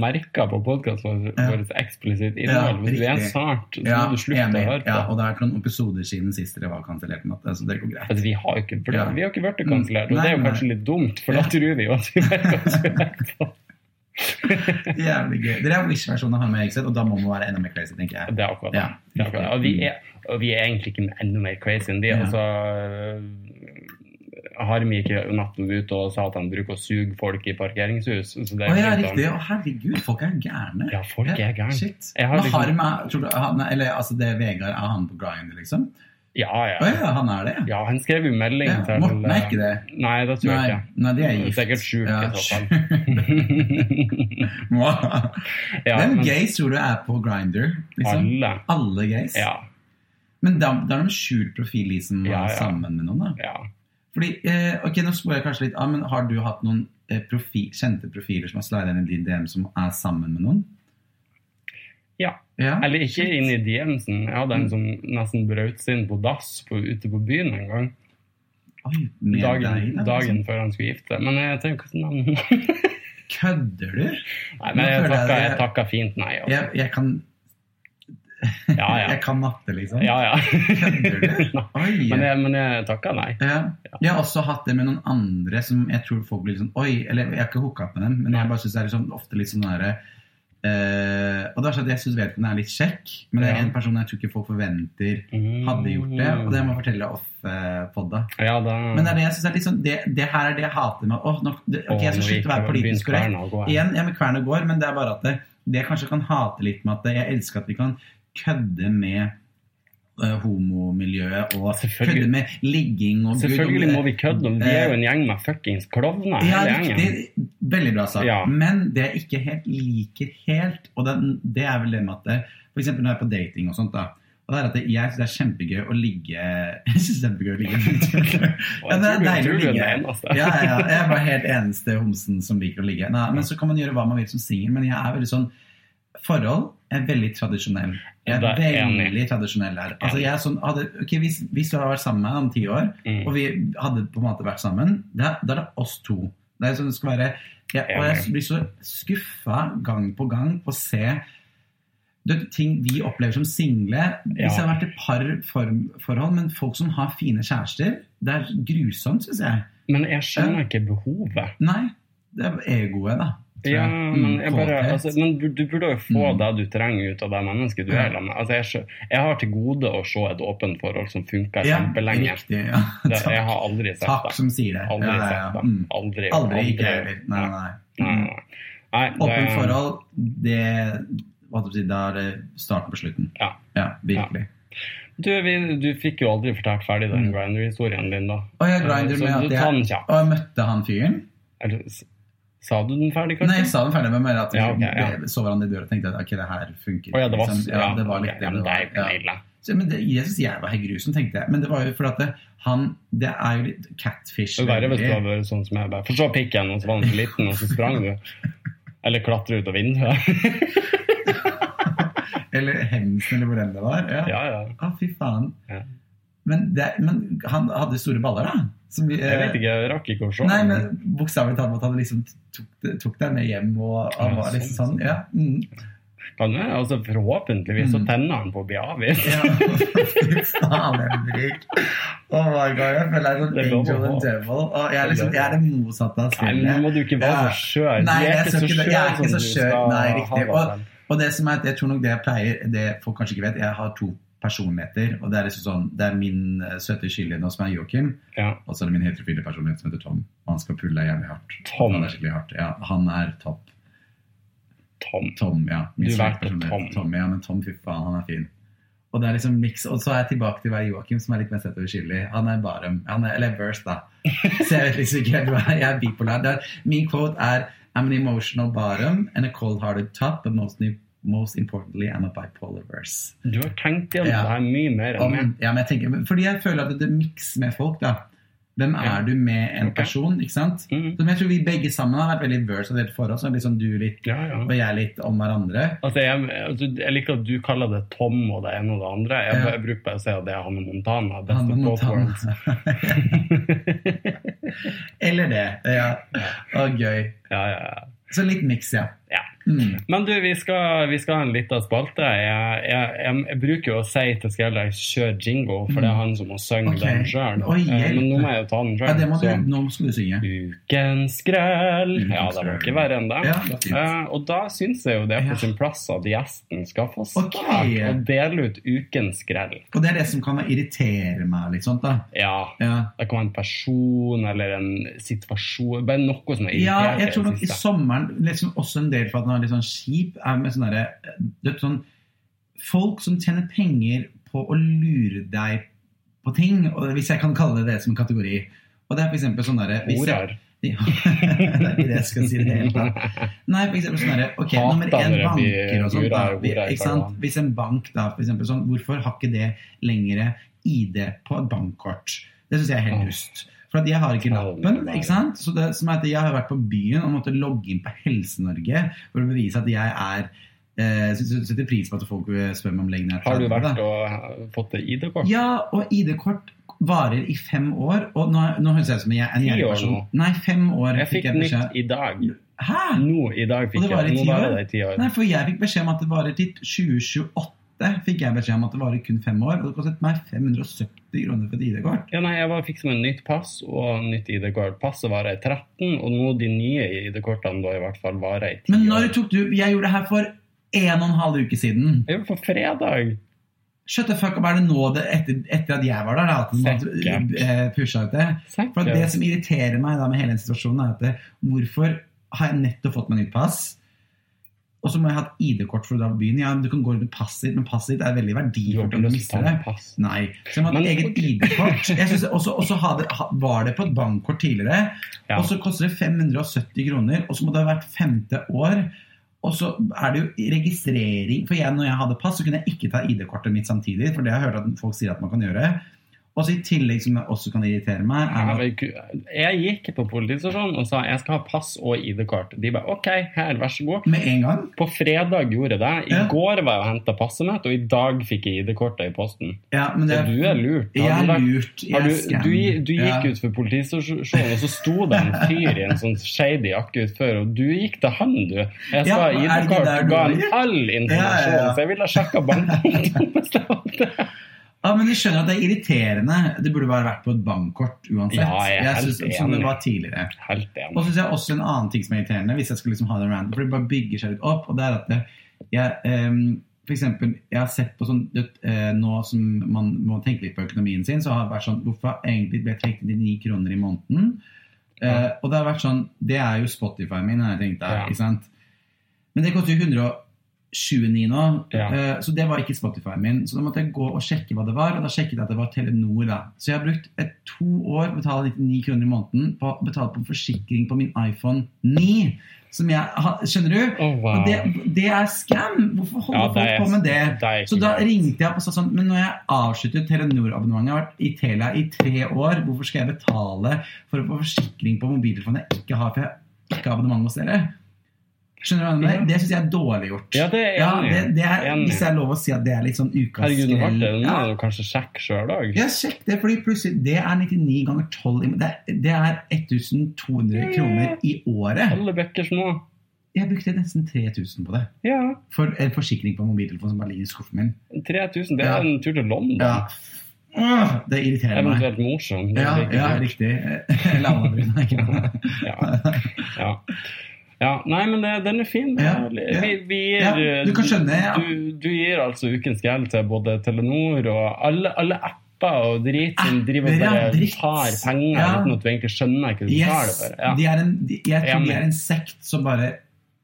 B: merka på podkasten vår eksplisitt innhold. Hvis det er en sak, så
A: Ja,
B: må du slutte
A: enig.
B: å høre
A: Ja,
B: på.
A: og det har vært noen episoder siden sist dere var kansellert. men at- Altså, det går greit.
B: Altså, vi har jo ikke blitt,
A: Ja.
B: vi har ikke blitt kansellert, og
A: Nei,
B: det er jo
A: nei.
B: kanskje litt dumt, for
A: Ja.
B: da tror vi jo at vi merker oss hører på.
A: Jævlig gøy. Dere er Wish-versjonen av han med Ekseth, og da må man være enda mer crazy, tenker jeg.
B: Det er akkurat det.
A: Ja.
B: det er akkurat det. Og, vi er, og vi er egentlig ikke enda mer crazy enn de.
A: Ja.
B: Altså, øh, Harmi gikk jo natten ut og sa at han bruker å suge folk i parkeringshus. Så det
A: Å
B: er
A: ja,
B: litt sånn-
A: riktig. Å, herregud, folk er gærne.
B: Ja, folk er gærne.
A: Shit.
B: Jeg har
A: Men
B: liksom-
A: Harm er, tror du, han, er- eller, altså det er Vegard, er han på grind, liksom?
B: Ja,
A: Å
B: ja.
A: ja, han er det?
B: ja, han skrev jo melding
A: Ja,
B: til
A: Morten er ikke det?
B: Nei, det tror jeg
A: Nei,
B: ikke.
A: nei, de er
B: Det er
A: gift.
B: Mm, sikkert sjuk
A: Ja,
B: i
A: <laughs>
B: så fall. ja,
A: Hvem
B: men
A: gays tror du er på Grinder? Liksom?
B: alle.
A: Alle gays?
B: Ja,
A: Men da, da er det en skjult profil de som
B: Ja,
A: er
B: ja.
A: sammen med noen, da.
B: ja.
A: Fordi, eh, ok, nå spør jeg kanskje litt av, men har du hatt noen eh, profi, kjente profiler som har slidet inn i din DM som er sammen med noen?
B: Ja.
A: Ja?
B: Eller ikke inn i DM-en. Jeg hadde en
A: Mm.
B: som nesten brøt seg inn på dass på, ute på byen en gang.
A: Oi, med deg,
B: Dagen,
A: da,
B: dagen før han skulle gifte seg. Men jeg tenker ikke navn.
A: liksom. Kødder du?
B: <laughs> Nei, men jeg
A: Nå føler jeg
B: takka, jeg
A: det-
B: takka fint nei. Altså.
A: Jeg, jeg kan
B: Ja, ja.
A: Jeg kan matte, liksom.
B: ja, <laughs> ja.
A: <laughs> Kødder du?
B: Nei.
A: Oi.
B: <laughs> Men jeg, men jeg takka nei.
A: ja. Jeg har også hatt det med noen andre som jeg tror folk blir litt sånn Oi, eller jeg har ikke hooka opp med dem, men
B: Nei.
A: jeg bare syns det er liksom, ofte litt sånn derre eh, Og det er sånn at jeg syns vedkommende er litt kjekk, men det
B: Ja.
A: er en person jeg tror ikke folk forventer
B: Mm.
A: hadde gjort det. Og det må jeg fortelle off-poda.
B: Ja, da
A: Men det er det jeg synes er litt sånn Det, det her er det jeg hater med Åh, nå- det, Ok, jeg skal slutte å være politisk korrekt.
B: korrekt.
A: Igjen, ja, men kverna går, men det er bare at det, det jeg kanskje kan hate litt med at det, jeg elsker at vi kan kødde med eh, homomiljøet og
B: Selvfølgelig.
A: kødde med ligging og
B: Selvfølgelig
A: Gud,
B: må
A: om-
B: vi kødde. og Vi er jo en gjeng med fuckings klovner.
A: Eh, ja,
B: hele gjengen.
A: riktig. Veldig bra sagt.
B: Ja.
A: Men det jeg ikke helt liker helt, og det, det er vel det med at det, For eksempel når jeg er på dating og sånt, da. Og det er at det- jeg syns det er kjempegøy å ligge <laughs> Jeg synes det er kjempegøy å ligge. <laughs>
B: Og
A: Ja,
B: jeg
A: det er
B: tror du-
A: deilig
B: tror
A: å
B: du er
A: ligge.
B: den eneste.
A: Ja, ja, ja. Jeg er bare helt eneste homsen som liker å ligge. Nei, men så kan man gjøre hva man vil som singel, men jeg er veldig sånn Forhold er veldig tradisjonell. Jeg
B: Ja,
A: er
B: det er jeg enig i.
A: veldig tradisjonell her. Altså, jeg er sånn, hadde, ok, hvis, hvis du hadde vært sammen med meg om ti år,
B: Mm.
A: og vi hadde på en måte vært sammen, da, da er det oss to. Det er sånn det skal være. Jeg, og jeg blir så skuffa gang på gang på å se du vet, ting vi opplever som single.
B: Ja.
A: Hvis jeg har vært i parforhold, men folk som har fine kjærester, det er grusomt, syns jeg.
B: Men jeg skjønner ikke behovet.
A: Nei, det er egoet, da. tror jeg.
B: Ja, men,
A: Mm,
B: jeg bare,
A: kåthet.
B: altså, men du, du burde jo få
A: Mm.
B: det du trenger ut av det mennesket du
A: Ja.
B: er sammen med. Altså, jeg, skjø- jeg har til gode å se et åpent forhold som funker
A: ja,
B: kjempelenge.
A: Riktig, ja. <laughs>
B: Det,
A: Takk,
B: jeg har aldri sett
A: takk
B: det.
A: som sier det.
B: Aldri
A: Ja, ja, ja.
B: sett det.
A: Mm.
B: Aldri.
A: Aldri ikke jeg heller. Nei, nei,
B: Nei,
A: nei.
B: nei, nei. Nei,
A: Åpent
B: det-
A: forhold, det hva skal jeg si, Da er det starten på slutten.
B: Ja.
A: virkelig.
B: Du, vi, du fikk jo aldri fortalt ferdig den Grindr-historien din, da.
A: Og jeg Mm. grinder
B: Eh, Så
A: med
B: du
A: at
B: tar
A: jeg
B: den kjapt.
A: Og jeg møtte han fyren.
B: Eller s- sa du den ferdig,
A: Nei, jeg
B: kanskje?
A: sa den ferdig med meg at vi
B: Ja, ok, ja.
A: vi så hverandre i døra og tenkte at ok, det her funker.
B: Å ja, det var,
A: liksom. ja, det var litt
B: ok,
A: det
B: ja, men
A: det
B: det er
A: var.
B: jo ikke
A: Ja.
B: ille.
A: Så, men det, jeg synes jeg var helt grusom, tenkte jeg. Men det var jo fordi at det, han Det er jo litt catfish.
B: Det er verre hvis du
A: veldig.
B: hadde vært sånn som jeg. bare, For så pikken, og så var den for liten, og så sprang du. Eller klatra ut av vinduet. <laughs>
A: Eller hemsen, eller hvor enn det var. Ja,
B: Ja, ja.
A: Ah, fy faen.
B: Ja.
A: Men, det, men han hadde store baller, da. Som vi, eh,
B: Jeg vet ikke, jeg rakk ikke å se.
A: Nei, men Bokstavelig talt at han liksom tok, det- tok deg med hjem, og han
B: Ja,
A: var liksom
B: sånn,
A: sånn. Ja. Mm.
B: Kan jeg? Altså, forhåpentligvis så
A: Mm.
B: tenner han på å bli
A: <laughs>
B: avvist.
A: ja. Fy faen, Henrik. Oh my god, jeg føler jeg er sånn
B: Det er lov å
A: angel and
B: ha.
A: devil. Og jeg, er liksom, jeg er det motsatte av
B: Nei, men nå
A: spillet.
B: må du ikke være
A: Ja.
B: så skjør. Du
A: Nei,
B: er
A: jeg
B: ikke
A: skal
B: så
A: ikke det. Jeg er
B: skjør
A: ikke
B: som
A: så
B: du
A: skjør.
B: skal
A: Nei,
B: ha
A: riktig.
B: det
A: Og-
B: til.
A: Og det som er at jeg tror nok det jeg pleier, det folk kanskje ikke vet, jeg har to personligheter. Og det er liksom sånn, det er min eh, søte skyldige nå som er Joakim.
B: Ja.
A: Og så er det min heterofile personlighet som heter Tom. Og han skal pulle deg jævlig hardt.
B: Tom.
A: Han er skikkelig hardt. Ja, han er topp.
B: Tom.
A: Tom, ja.
B: Du
A: Min
B: valgte
A: personlighet.
B: Tom.
A: Ja, men Tom, fy faen, han er fin. Og det er liksom mix. Og så er jeg tilbake til å være Joakim, som er litt mer søt og uskyldig. Han er Barum. Han er, eller Verse, da. Så jeg vet liksom ikke helt hva jeg er bipolar. Det er, min quote er I'm an emotional bottom and a cold-hearted top, but most, most importantly I'm a bipolar verse.
B: Du har tenkt igjen
A: Ja.
B: det her mye mer enn meg.
A: Om, ja, men jeg tenker, men fordi jeg føler at det mikser med folk, da. Hvem
B: Ja.
A: er du med en
B: Ok.
A: person, ikke sant?
B: Mm.
A: Som jeg tror vi begge sammen har vært veldig verse og delt forhold. Så det er litt sånn du litt,
B: Ja, ja.
A: og jeg litt om hverandre.
B: Altså, jeg, altså, jeg liker at du kaller det Tom og det ene og det andre. Jeg,
A: Ja.
B: jeg bruker bare å si at det er Hanne Montana.
A: Han
B: Best
A: og
B: of both
A: Montana. <laughs>
B: worlds.
A: Eller det. Ja. Og gøy.
B: Ja, ja, ja.
A: Så litt miks, ja.
B: Ja.
A: Mm.
B: Men du, vi skal, vi skal ha en liten spalte. Jeg, jeg, jeg, jeg bruker jo å si til Skrelle 'kjør jingo', for det er han som må
A: Mm.
B: synge
A: Ok.
B: den sjøl.
A: Oi, hjelp.
B: Men nå må jeg jo ta den
A: ja det må du,
B: sjøl.
A: nå skal du synge.
B: Ukens skrell.
A: Ukens
B: Ja, det må
A: skrell.
B: ikke verre enn det.
A: Ja, det er fint.
B: Eh, og da syns jeg jo det er
A: Ja.
B: på sin plass at gjesten skal få start
A: Ok.
B: og dele ut ukens skrell.
A: Og det er det som kan irritere meg litt sånt, da.
B: Ja.
A: Ja.
B: Det kan være en person eller en situasjon. Bare noe som er
A: Ja,
B: irritert.
A: jeg tror
B: i det
A: nok i
B: siste.
A: sommeren liksom også en del for at den er litt sånn kjip, er med sånn derre du vet, sånn, Folk som tjener penger på å lure deg på ting, og hvis jeg kan kalle det det som en kategori. Og det er for eksempel sånn derre hvis jeg-
B: Horer.
A: Ja, <laughs> Det er ikke det jeg skal si i det hele tatt. Nei, for eksempel sånn derre Ok,
B: Hater
A: nummer én
B: når det blir
A: banker og sånt. Da,
B: burer og
A: vi-
B: horer i
A: ikke sant?
B: Taiwan.
A: Hvis en bank, da, for eksempel sånn Hvorfor har ikke det lengre ID på et bankkort? Det syns jeg er helt
B: Åh.
A: dust. For at jeg har ikke
B: Faen,
A: lappen.
B: nei.
A: ikke sant? Så det som er at Jeg har vært på byen og måtte logge inn på Helse-Norge for å bevise at jeg er eh, sy- setter pris på at folk eh, spør meg om lengden. er
B: <laughs> Har du
A: 30, da.
B: vært og fått det ID-kort?
A: Ja, og ID-kort varer i fem år. Og nå, nå høres jeg ut som jeg er en
B: Ti
A: jævlig
B: år
A: person.
B: nå.
A: Nei, fem år
B: Jeg fikk
A: jeg beskjed.
B: nytt i dag.
A: Hæ?
B: Nå i dag
A: Og
B: fikk
A: det
B: jeg
A: varer i
B: Nå
A: ti
B: varer
A: år?
B: det i ti år.
A: Nei, for jeg fikk beskjed om at det varer til 2028. Fikk jeg beskjed om at det varer kun fem år. Og det kostet meg 570 kroner for et ID-kort.
B: Ja, nei, jeg bare fikk som en nytt pass og nytt ID-kort. Passet varer i 13, og nå de nye ID-kortene da i hvert fall varer i 10
A: Men når
B: år.
A: tok du Jeg gjorde det her for en og en halv uke siden.
B: Det er jo på fredag!
A: Shut the fuck up, er det nå det, etter, etter at jeg var der, da, at man
B: Sikkert.
A: eh, pusha ut det? For at det
B: Sikkert.
A: som irriterer meg da med hele den situasjonen, er at det, hvorfor har jeg nettopp fått meg nytt pass? Og så må jeg ha et ID-kort for å dra på byen. Ja, men du kan gå rundt med passet ditt, men passet ditt er veldig
B: Du har
A: verdifullt
B: ikke
A: om du
B: lyst til
A: mister
B: å ta
A: det.
B: med pass.
A: Nei. Så jeg må ha et
B: Men-
A: eget ID-kort. Jeg synes- Og så- og så ha det- ha- var det på et bankkort tidligere,
B: Ja.
A: og så koster det 570 kroner, og så må det ha vært femte år. Og så er det jo registrering For jeg, når jeg hadde pass, så kunne jeg ikke ta ID-kortet mitt samtidig, for det har jeg hørt at folk sier at man kan gjøre. Og så i tillegg, som jeg også kan irritere meg, er
B: Ja,
A: at
B: men ku- Jeg gikk på politistasjonen og sa jeg skal ha pass og ID-kort. De bare OK, her, vær så god.
A: med en gang
B: På fredag gjorde jeg det. I
A: Ja.
B: går var jeg og henta passet mitt, og i dag fikk jeg ID-kortet i posten.
A: Ja, men det
B: Så du er lurt.
A: Jeg
B: Har du
A: er
B: vært-
A: lurt. Jeg
B: Har
A: er
B: du,
A: scam.
B: du, du
A: ja.
B: gikk ut for politistasjonen, og så sto det en fyr i en sånn shady jakke utfor, og du gikk til han, du. Jeg
A: Ja,
B: sa
A: men er det
B: ID-kort,
A: der
B: du
A: du
B: ga
A: var?
B: han all informasjon,
A: Ja, ja, ja.
B: så jeg ville ha sjekka bankkontoen.
A: Ja, men jeg skjønner at det er irriterende. Det burde bare vært på et bankkort uansett.
B: Ja, jeg er helt
A: synes, Som det
B: enig.
A: var tidligere.
B: <laughs> Helt
A: Og
B: enig.
A: så synes jeg også en annen ting som er irriterende, hvis jeg skulle liksom ha det random, for det bare bygger seg litt opp, og det er at det, jeg ehm, for eksempel, jeg har sett på sånn det, eh, Nå som man må tenke litt på økonomien sin, så har det vært sånn Hvorfor egentlig ble jeg trukket inn i ni kroner i måneden? Eh, og det har vært sånn Det er jo Spotify min, har jeg tenkt der,
B: Ja.
A: ikke sant? Men det koster jo 129 nå,
B: Ja.
A: eh, så det var ikke Spotify min. Så da måtte jeg gå og sjekke hva det var, og da sjekket jeg at det var Telenor. da. Så jeg har brukt et to år på å betale 99 kroner i måneden på å betale på forsikring på min iPhone 9. Som jeg har, skjønner du?
B: Å, wow.
A: Og det, det er scam! Hvorfor holder
B: Ja, det er-
A: folk på med det?
B: det er ikke
A: så da
B: greit.
A: ringte jeg opp og sa sånn Men når jeg avsluttet Telenor-abonnementet, jeg har vært i Telia i tre år, hvorfor skal jeg betale for å få forsikring på mobiltelefonen jeg ikke har, for jeg ikke har abonnement hos dere? Skjønner du hva jeg mener?
B: Ja.
A: Det syns jeg er dårlig gjort.
B: Ja, det er
A: Ja,
B: enig.
A: det, det er,
B: Enig.
A: hvis det er lov å si at det er litt sånn ukas
B: Herregud, nå ble det nå
A: Ja,
B: må du kanskje sjekke sjøl òg.
A: ja, sjekk det, fordi plutselig Det er 99 ganger 12 i- Det er, det er 1200 kroner i året.
B: Alle bøkker små.
A: Jeg brukte nesten 3000 på det.
B: Ja.
A: For en forsikring på en mobiltelefon som bare ligger i skuffen min.
B: 3000, det
A: Ja.
B: er en tur til London.
A: Ja. Åh, det irriterer meg.
B: Eventuelt morsom. det
A: Ja,
B: er ikke
A: ja,
B: det.
A: riktig. <laughs> Landebrun er ikke noe.
B: <laughs> Ja. ja. ja. Nei, men det, den er fin.
A: Ja, ja.
B: Vi, vi gir,
A: Ja, du kan skjønne, ja.
B: du, du gir altså ukens gjeld til både Telenor og alle, alle apper og drit som
A: Apper,
B: driver og
A: ja,
B: bare
A: Ah, dritt.
B: tar penger
A: Ja.
B: uten at du egentlig skjønner hva du betaler
A: Yes,
B: for. Ja.
A: de er en, de, jeg tror
B: Enig.
A: de er en sekt som bare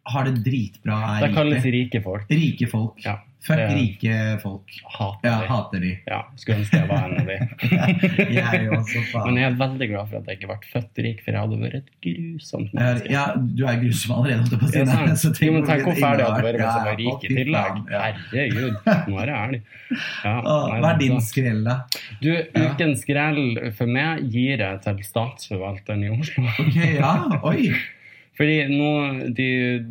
A: har det dritbra. Er
B: Det kalles
A: rike.
B: rike folk.
A: rike folk.
B: Ja,
A: Fuck
B: det er-
A: rike folk.
B: Hater
A: Ja,
B: de.
A: hater de.
B: Ja, skulle ønske jeg var en av
A: <laughs>
B: de.
A: Jeg er jo
B: <laughs>
A: også
B: Men
A: faen.
B: jeg er veldig glad for at jeg ikke ble født rik, for jeg hadde vært et grusomt
A: Jeg er-
B: menneske.
A: Ja, du er grusom allerede. holdt jeg på å si.
B: Det er sant.
A: Så
B: Jo, men tenk
A: på
B: hvor ferdig jeg hadde
A: innhold.
B: vært hvis jeg
A: Ja,
B: var rik i
A: fy
B: tillegg.
A: faen, ja.
B: Herregud, nå er jeg ærlig. Ja,
A: Åh,
B: nei,
A: Hva er
B: da-
A: din skrell, da?
B: Du, ukens grell for meg gir jeg til statsforvalteren i Oslo. <laughs>
A: Ok, ja, oi.
B: Fordi nå, de,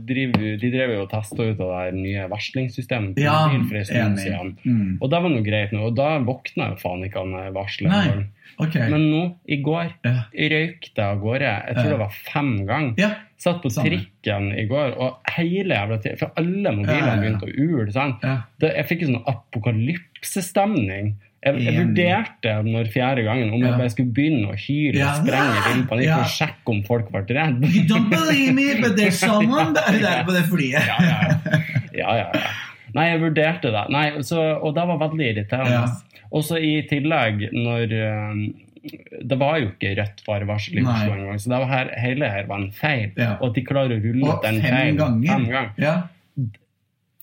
B: driver, de drev jo og testa ut av det her nye varslingssystemet på
A: Ja,
B: mobil for en stund
A: enig.
B: siden.
A: Mm.
B: Og det var noe greit nå, og da våkna jo faen ikke han
A: Nei.
B: varsleren.
A: Ok.
B: Men nå, i går,
A: Ja.
B: røyk det av gårde. Jeg tror
A: Ja.
B: det var fem ganger.
A: ja.
B: Satt på
A: Samme.
B: trikken i går, og hele jævla tiden For alle
A: Ja, ja,
B: mobilene
A: ja.
B: begynte å ule. sant?
A: ja.
B: Det, jeg fikk jo sånn apokalypsestemning. Jeg, jeg
A: Enig.
B: vurderte når fjerde gangen om
A: Ja.
B: jeg bare skulle begynne å hyle
A: Ja.
B: og sprenge i panikk
A: Ja.
B: for å sjekke om folk ble redd.
A: You don't believe me, but there's someone der, der på det flyet.
B: <laughs> Ja, ja, ja, ja, ja. Nei, jeg vurderte det. Nei, så, og det var veldig irriterende. Og så i tillegg, når eh, Det var jo ikke rødt farevarsel i
A: Nei.
B: Oslo engang, så det var her, hele her var en feil.
A: Ja.
B: Og at de klarer å rulle
A: Og
B: ut den
A: fem
B: feilen
A: ganger.
B: fem ganger.
A: Ja.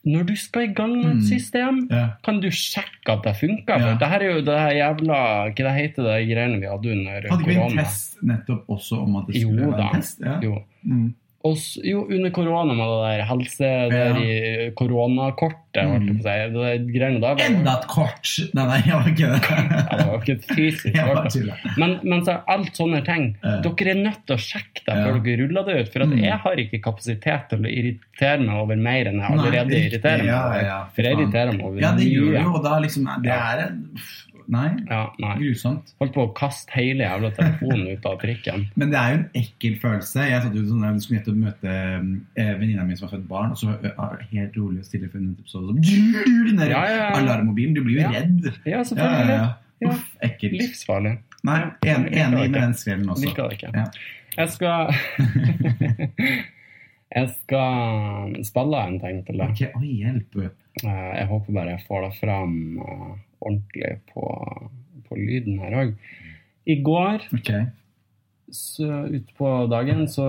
B: Når du skal i gang med
A: Mm.
B: et system,
A: ja.
B: kan du sjekke at det
A: Ja.
B: funker? For det her er jo det her jævla Hva det heter det greiene vi hadde under
A: Hadde ikke vi en
B: korona?
A: test nettopp også om at det
B: Jo
A: skulle
B: da.
A: være en test? Ja.
B: Jo.
A: Mm.
B: Og s- jo, under korona med det der helse... Det
A: Ja. Mm.
B: der i koronakortet, holdt jeg på å si. Det der greiene der var
A: Enda et kort! Nei, nei, jeg var ikke
B: <laughs> Ja, det
A: det.
B: var jo ikke et
A: <laughs>
B: fysisk
A: Jeg bare
B: kort.
A: tuller.
B: Men, men så er alt sånne ting
A: altså. Ja.
B: Dere er nødt til å sjekke det før
A: Ja.
B: dere ruller det ut. For at
A: Mm.
B: jeg har ikke kapasitet til å irritere meg over mer enn jeg
A: Nei,
B: allerede
A: riktig,
B: irriterer meg
A: ja,
B: over.
A: ja,
B: For jeg
A: faen.
B: irriterer meg over
A: Ja, det gjør
B: mye.
A: det jo, og da liksom Det er en Nei,
B: Ja, nei.
A: grusomt.
B: Holdt på å kaste hele jævla telefonen ut av trikken.
A: Men det er jo en ekkel følelse. Jeg satt jo sånn der, skulle nettopp møte eh, venninna mi som har født barn, og så ø, ø, helt rolig og stille for en episode
B: <laughs>
A: så sånn, Den der
B: Ja, ja, ja.
A: alarmmobilen. Du blir jo
B: Ja.
A: redd.
B: Ja,
A: Ja, ja,
B: selvfølgelig.
A: ja.
B: Ja.
A: Uff, ekkelt.
B: Livsfarlig.
A: Nei, en,
B: Ja,
A: enig
B: liker
A: med den skrellen også.
B: Liker det ikke.
A: Ja.
B: Jeg skal <laughs> Jeg skal spille en ting til deg.
A: Ok, Oi, hjelp.
B: Eh, Jeg håper bare jeg får det fram eh, ordentlig på, på lyden her òg. I går
A: Ok.
B: så utpå dagen så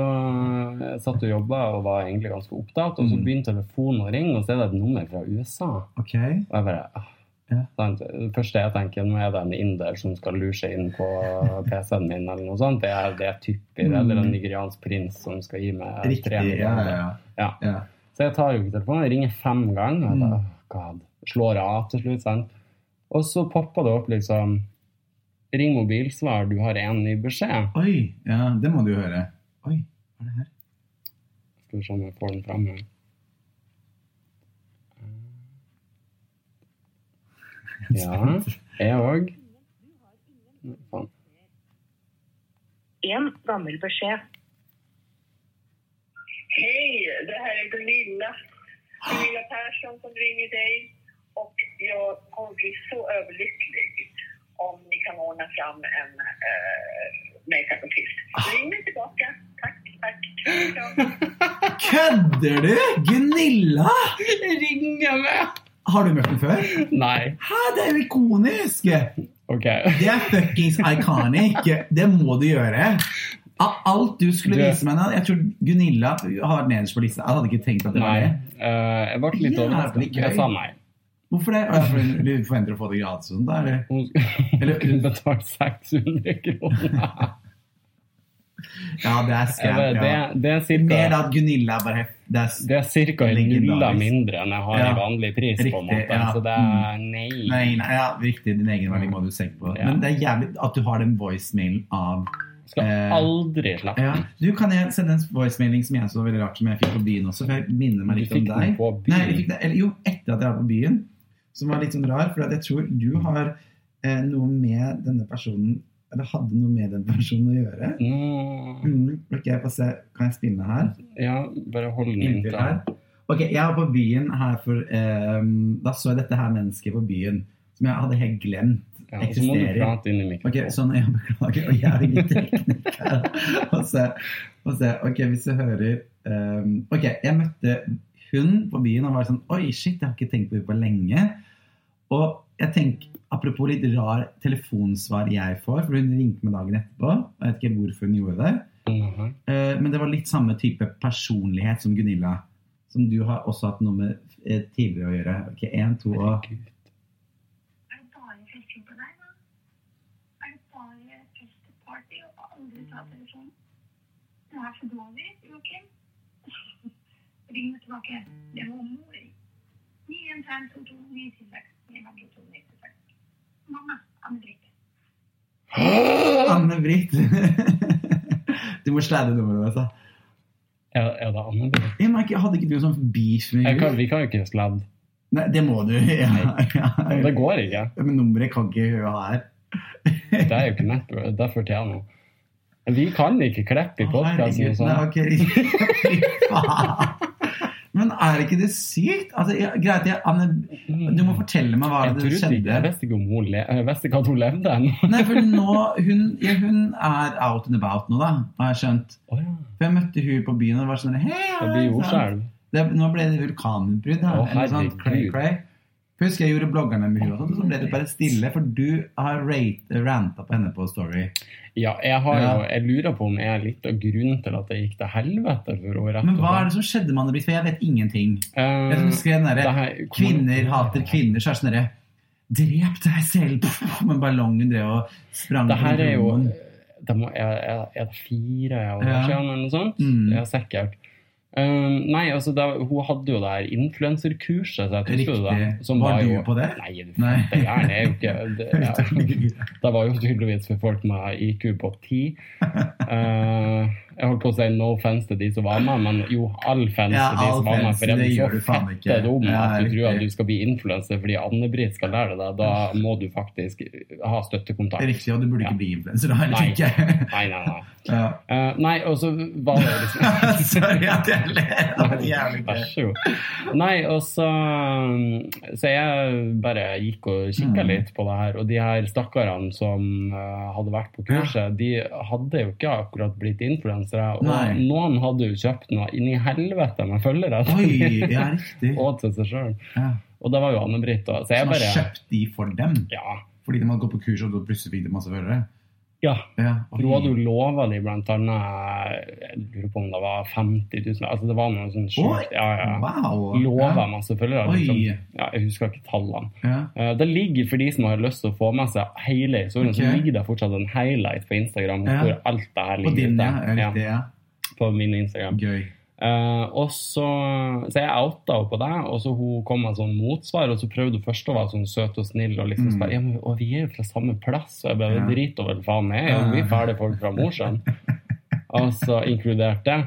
B: jeg satt og jobba og var egentlig ganske opptatt, og så
A: Mm.
B: begynte telefonen å ringe, og så er det et nummer fra USA.
A: ok.
B: Og jeg bare ah.
A: Ja.
B: sant? Det første jeg tenker, nå er det en inder som skal lure seg inn på PC-en min, eller noe sånt. Det er det typer,
A: Mm.
B: eller en nigeriansk prins som skal gi meg
A: Riktig.
B: tre
A: Ja, ja,
B: millioner.
A: ja.
B: Ja.
A: ja.
B: Så jeg tar jo ikke telefonen. Jeg ringer fem ganger. Og jeg bare,
A: Mm.
B: «Åh, God, slår jeg av til slutt. Sant? Og så popper det opp liksom Ring mobilsvar, du har én ny beskjed.
A: Oi. Ja, det må du jo høre. Oi, hva er det her?
B: Skal vi se om jeg får den fram. her.
A: <laughs>
B: Ja, jeg òg. Faen.
C: En gammel beskjed.
D: Hej, det här är Gunilla. Gunilla Persson som ringer dig. Och jag kommer bli så överlycklig om ni kan ordna fram en eh, makeup-artist. Ring mig tillbaka. Tack, tack. Kram.
A: <laughs> Kødder du? Gunilla?
B: Ringer med!
A: Har du møtt henne før?
B: Nei.
A: Hæ, det er jo ikonisk!
B: OK.
A: Det er fuckings iconic. Det må du gjøre. Av alt du skulle
B: Du-
A: vise meg nå Jeg tror Gunilla har vært nederst på lista. Jeg hadde ikke tenkt at det var
B: Nei.
A: det.
B: Eh, jeg ble litt
A: Jævlig
B: overrasket.
A: gøy.
B: Jeg sa nei.
A: Hvorfor det? Å, ja, for Du forventer å få det gratis og sånt? da, eller?
B: Hun
A: Eller-
B: <laughs> hun betalte 600 kroner.
A: Ja, det er
B: Jeg
A: skam.
B: vet,
A: Ja.
B: det, det er cirka
A: Mer da at Gunilla er bare hef- det er, s-
B: Det er ca. en
A: Legendarisk.
B: nulla mindre enn jeg har
A: Ja.
B: i vanlig pris, på en
A: Riktig,
B: måte.
A: ja. Mm.
B: Så det er nei.
A: Nei, nei, ja, riktig. Din egen verdi må du tenke på.
B: Ja.
A: Men det er jævlig at du har den voicemailen av eh,
B: Skal aldri slappe.
A: ja. Du, Kan jeg sende en voicemailing som jeg så veldig rart som jeg fikk på byen også? For jeg minner meg
B: Du
A: litt
B: fikk
A: om deg.
B: den på
A: Nei, jeg fikk
B: byen.
A: det, eller, jo, etter at jeg var på byen, som var litt sånn rar, for at jeg tror du har eh, noe med denne personen Eller hadde noe med den personen å gjøre.
B: Nå,
A: Mm, ok, jeg får se. Kan jeg spille her?
B: ja, bare hold den
A: Inntil
B: inntil.
A: her. Ok, jeg var på byen her for eh, Da så jeg dette her mennesket på byen, som jeg hadde helt glemt.
B: Ja, og så må du
A: Eksisterer.
B: prate inn i
A: Ok,
B: mikrofonen.
A: sånn, jeg beklager, og jeg er ingen tekniker. Og se, og se, ok, hvis jeg hører ehm, Ok, jeg møtte hun på byen og var sånn Oi, shit, jeg har ikke tenkt på henne på lenge. Og jeg tenker, apropos litt rar telefonsvar jeg får, for hun ringte meg dagen etterpå. og Jeg vet ikke helt hvorfor hun gjorde det.
B: Mhm.
A: Eh, men det var litt samme type personlighet som Gunilla. Som du har også hatt noe med eh, tidligere å gjøre. Ok, én, to og
B: Herregud.
E: Er det bare festing på deg, da? Er det bare fest og party, og aldri ta telefonen? Du er for dårlig, Joakim. <laughs> Ring meg tilbake. Det var mor. 91522996. Mamma, Anne-Britt.
A: <laughs> Anne-Britt! du må sladde nummeret, altså.
B: Er, er det Anne?
A: Ja, men ikke- Hadde ikke du sånn beef med
B: Jeg kan,
A: henne?
B: vi kan jo ikke sladde.
A: Nei, det må du. <laughs> Ja, ja.
B: Det går ikke.
A: Men nummeret kan ikke hun ha her.
B: Det er jo ikke network. Det fortjener hun. Vi kan ikke klippe i
A: Å,
B: podkasten og
A: herregud,
B: sånn.
A: nei, ok. <laughs> Fy faen. Men er ikke det sykt? Altså, jeg, greit, jeg, Anne, du må fortelle meg hva er
B: Mm. Jeg
A: det
B: trodde
A: som
B: ikke, jeg
A: skjedde.
B: visste ikke om hun le, <laughs> jeg visste ikke at hun levde ennå.
A: Nei, for nå, hun, ja, hun er out and about nå, da, har jeg skjønt.
B: Å ja.
A: For jeg møtte hun på byen, og det var sånn hei,
B: Det blir jordskjelv.
A: Det, nå ble det vulkanutbrudd. da,
B: Å,
A: eller sånn, cray,
B: herregud.
A: cray. For jeg husker jeg gjorde bloggerne med henne, og sånt, så ble det bare stille. For du har rate, ranta på henne på Story.
B: Ja, jeg, har jo,
A: Ja.
B: jeg lurer på om jeg er litt av grunnen til at det gikk til helvete for henne. rett
A: Men
B: og
A: hva er
B: slett.
A: det som skjedde med Anne-Britt? For jeg vet ingenting.
B: Eh,
A: Jeg husker den
B: det
A: derre
B: her,
A: Kvinner hater kvinner, så er det sånn derre Drep deg selv! Pff, Med ballongen drev og sprang
B: Det her
A: rundt
B: er jo
A: rommet.
B: det må, er, er- er det fire år
A: Ja.
B: siden eller noe sånt?
A: Mm.
B: Ja, sikkert. Um, nei, altså, det, hun hadde jo det her influenserkurset, så jeg
A: Riktig.
B: husker du det.
A: Var du
B: jo,
A: på det?
B: Nei, du
A: Nei.
B: fette gæren. Jeg er jo ikke
A: <laughs>
B: det, ja.
A: Herregud.
B: det var jo tydeligvis for folk med IQ på 10. Uh, jeg holdt på å si no offense til de som var med, men jo, all offense
A: Ja,
B: til de
A: all
B: som var med.
A: offense,
B: For jeg
A: det
B: blir
A: gjør du
B: så
A: faen
B: fette
A: ikke.
B: dum
A: Ja,
B: at du tror at
A: riktig.
B: du skal bli influenser fordi Anne-Britt skal lære deg det. Da må du faktisk ha
A: Det er
B: støttekontakt.
A: Riktig, og du burde
B: Ja.
A: ikke bli influenser, da, <laughs> heller
B: Nei.
A: tenker jeg.
B: Nei, nei, nei.
A: Ja.
B: Eh, nei, og så var det liksom
A: <laughs> Sorry at jeg ler. Det var jævlig
B: Vær
A: gøy.
B: så god. Nei, og så Så jeg bare gikk og kikka
A: Mm.
B: litt på det her. Og de her stakkarene som eh, hadde vært på kurset, de hadde jo ikke akkurat blitt influensere. Og
A: Nei.
B: noen hadde jo kjøpt noe inn i helvete med følgere. <laughs>
A: Oi, ja, riktig.
B: og til seg sjøl.
A: Ja.
B: Og det var jo Anne-Britt. da. Så jeg
A: Som har
B: bare
A: kjøpt de for dem?
B: Ja.
A: Fordi de hadde gått på kurs, og da plutselig fikk de masse følgere?
B: ja.
A: Ja.
B: Nå hadde hun lova de blant annet Jeg lurer på om det var 50 000 Altså det var noe
A: Oi.
B: sånn sjukt. Ja, ja.
A: Wow!
B: Lova
A: Ja.
B: masse følgere. Liksom.
A: Oi!
B: Ja, jeg husker ikke tallene.
A: Ja.
B: Eh, Det ligger for de som har lyst til å få med seg hele historien,
A: Ok.
B: så ligger det fortsatt en highlight på Instagram
A: Ja.
B: hvor alt det her
A: På
B: ligger
A: din, ja.
B: ute.
A: ja,
B: Ja,
A: Riktig, ja.
B: på min Instagram.
A: Gøy.
B: Eh, og så, så jeg outa henne på det, og så hun kom med sånn motsvar. Og så prøvde hun først å være sånn søt og snill og liksom
A: Mm.
B: spørre ja, men, og vi er jo fra samme plass. Og jeg bare
A: Ja.
B: drit over faen jeg er jo vi
A: Ja.
B: er fæle folk fra
A: <laughs>
B: Mosjøen. altså inkludert det.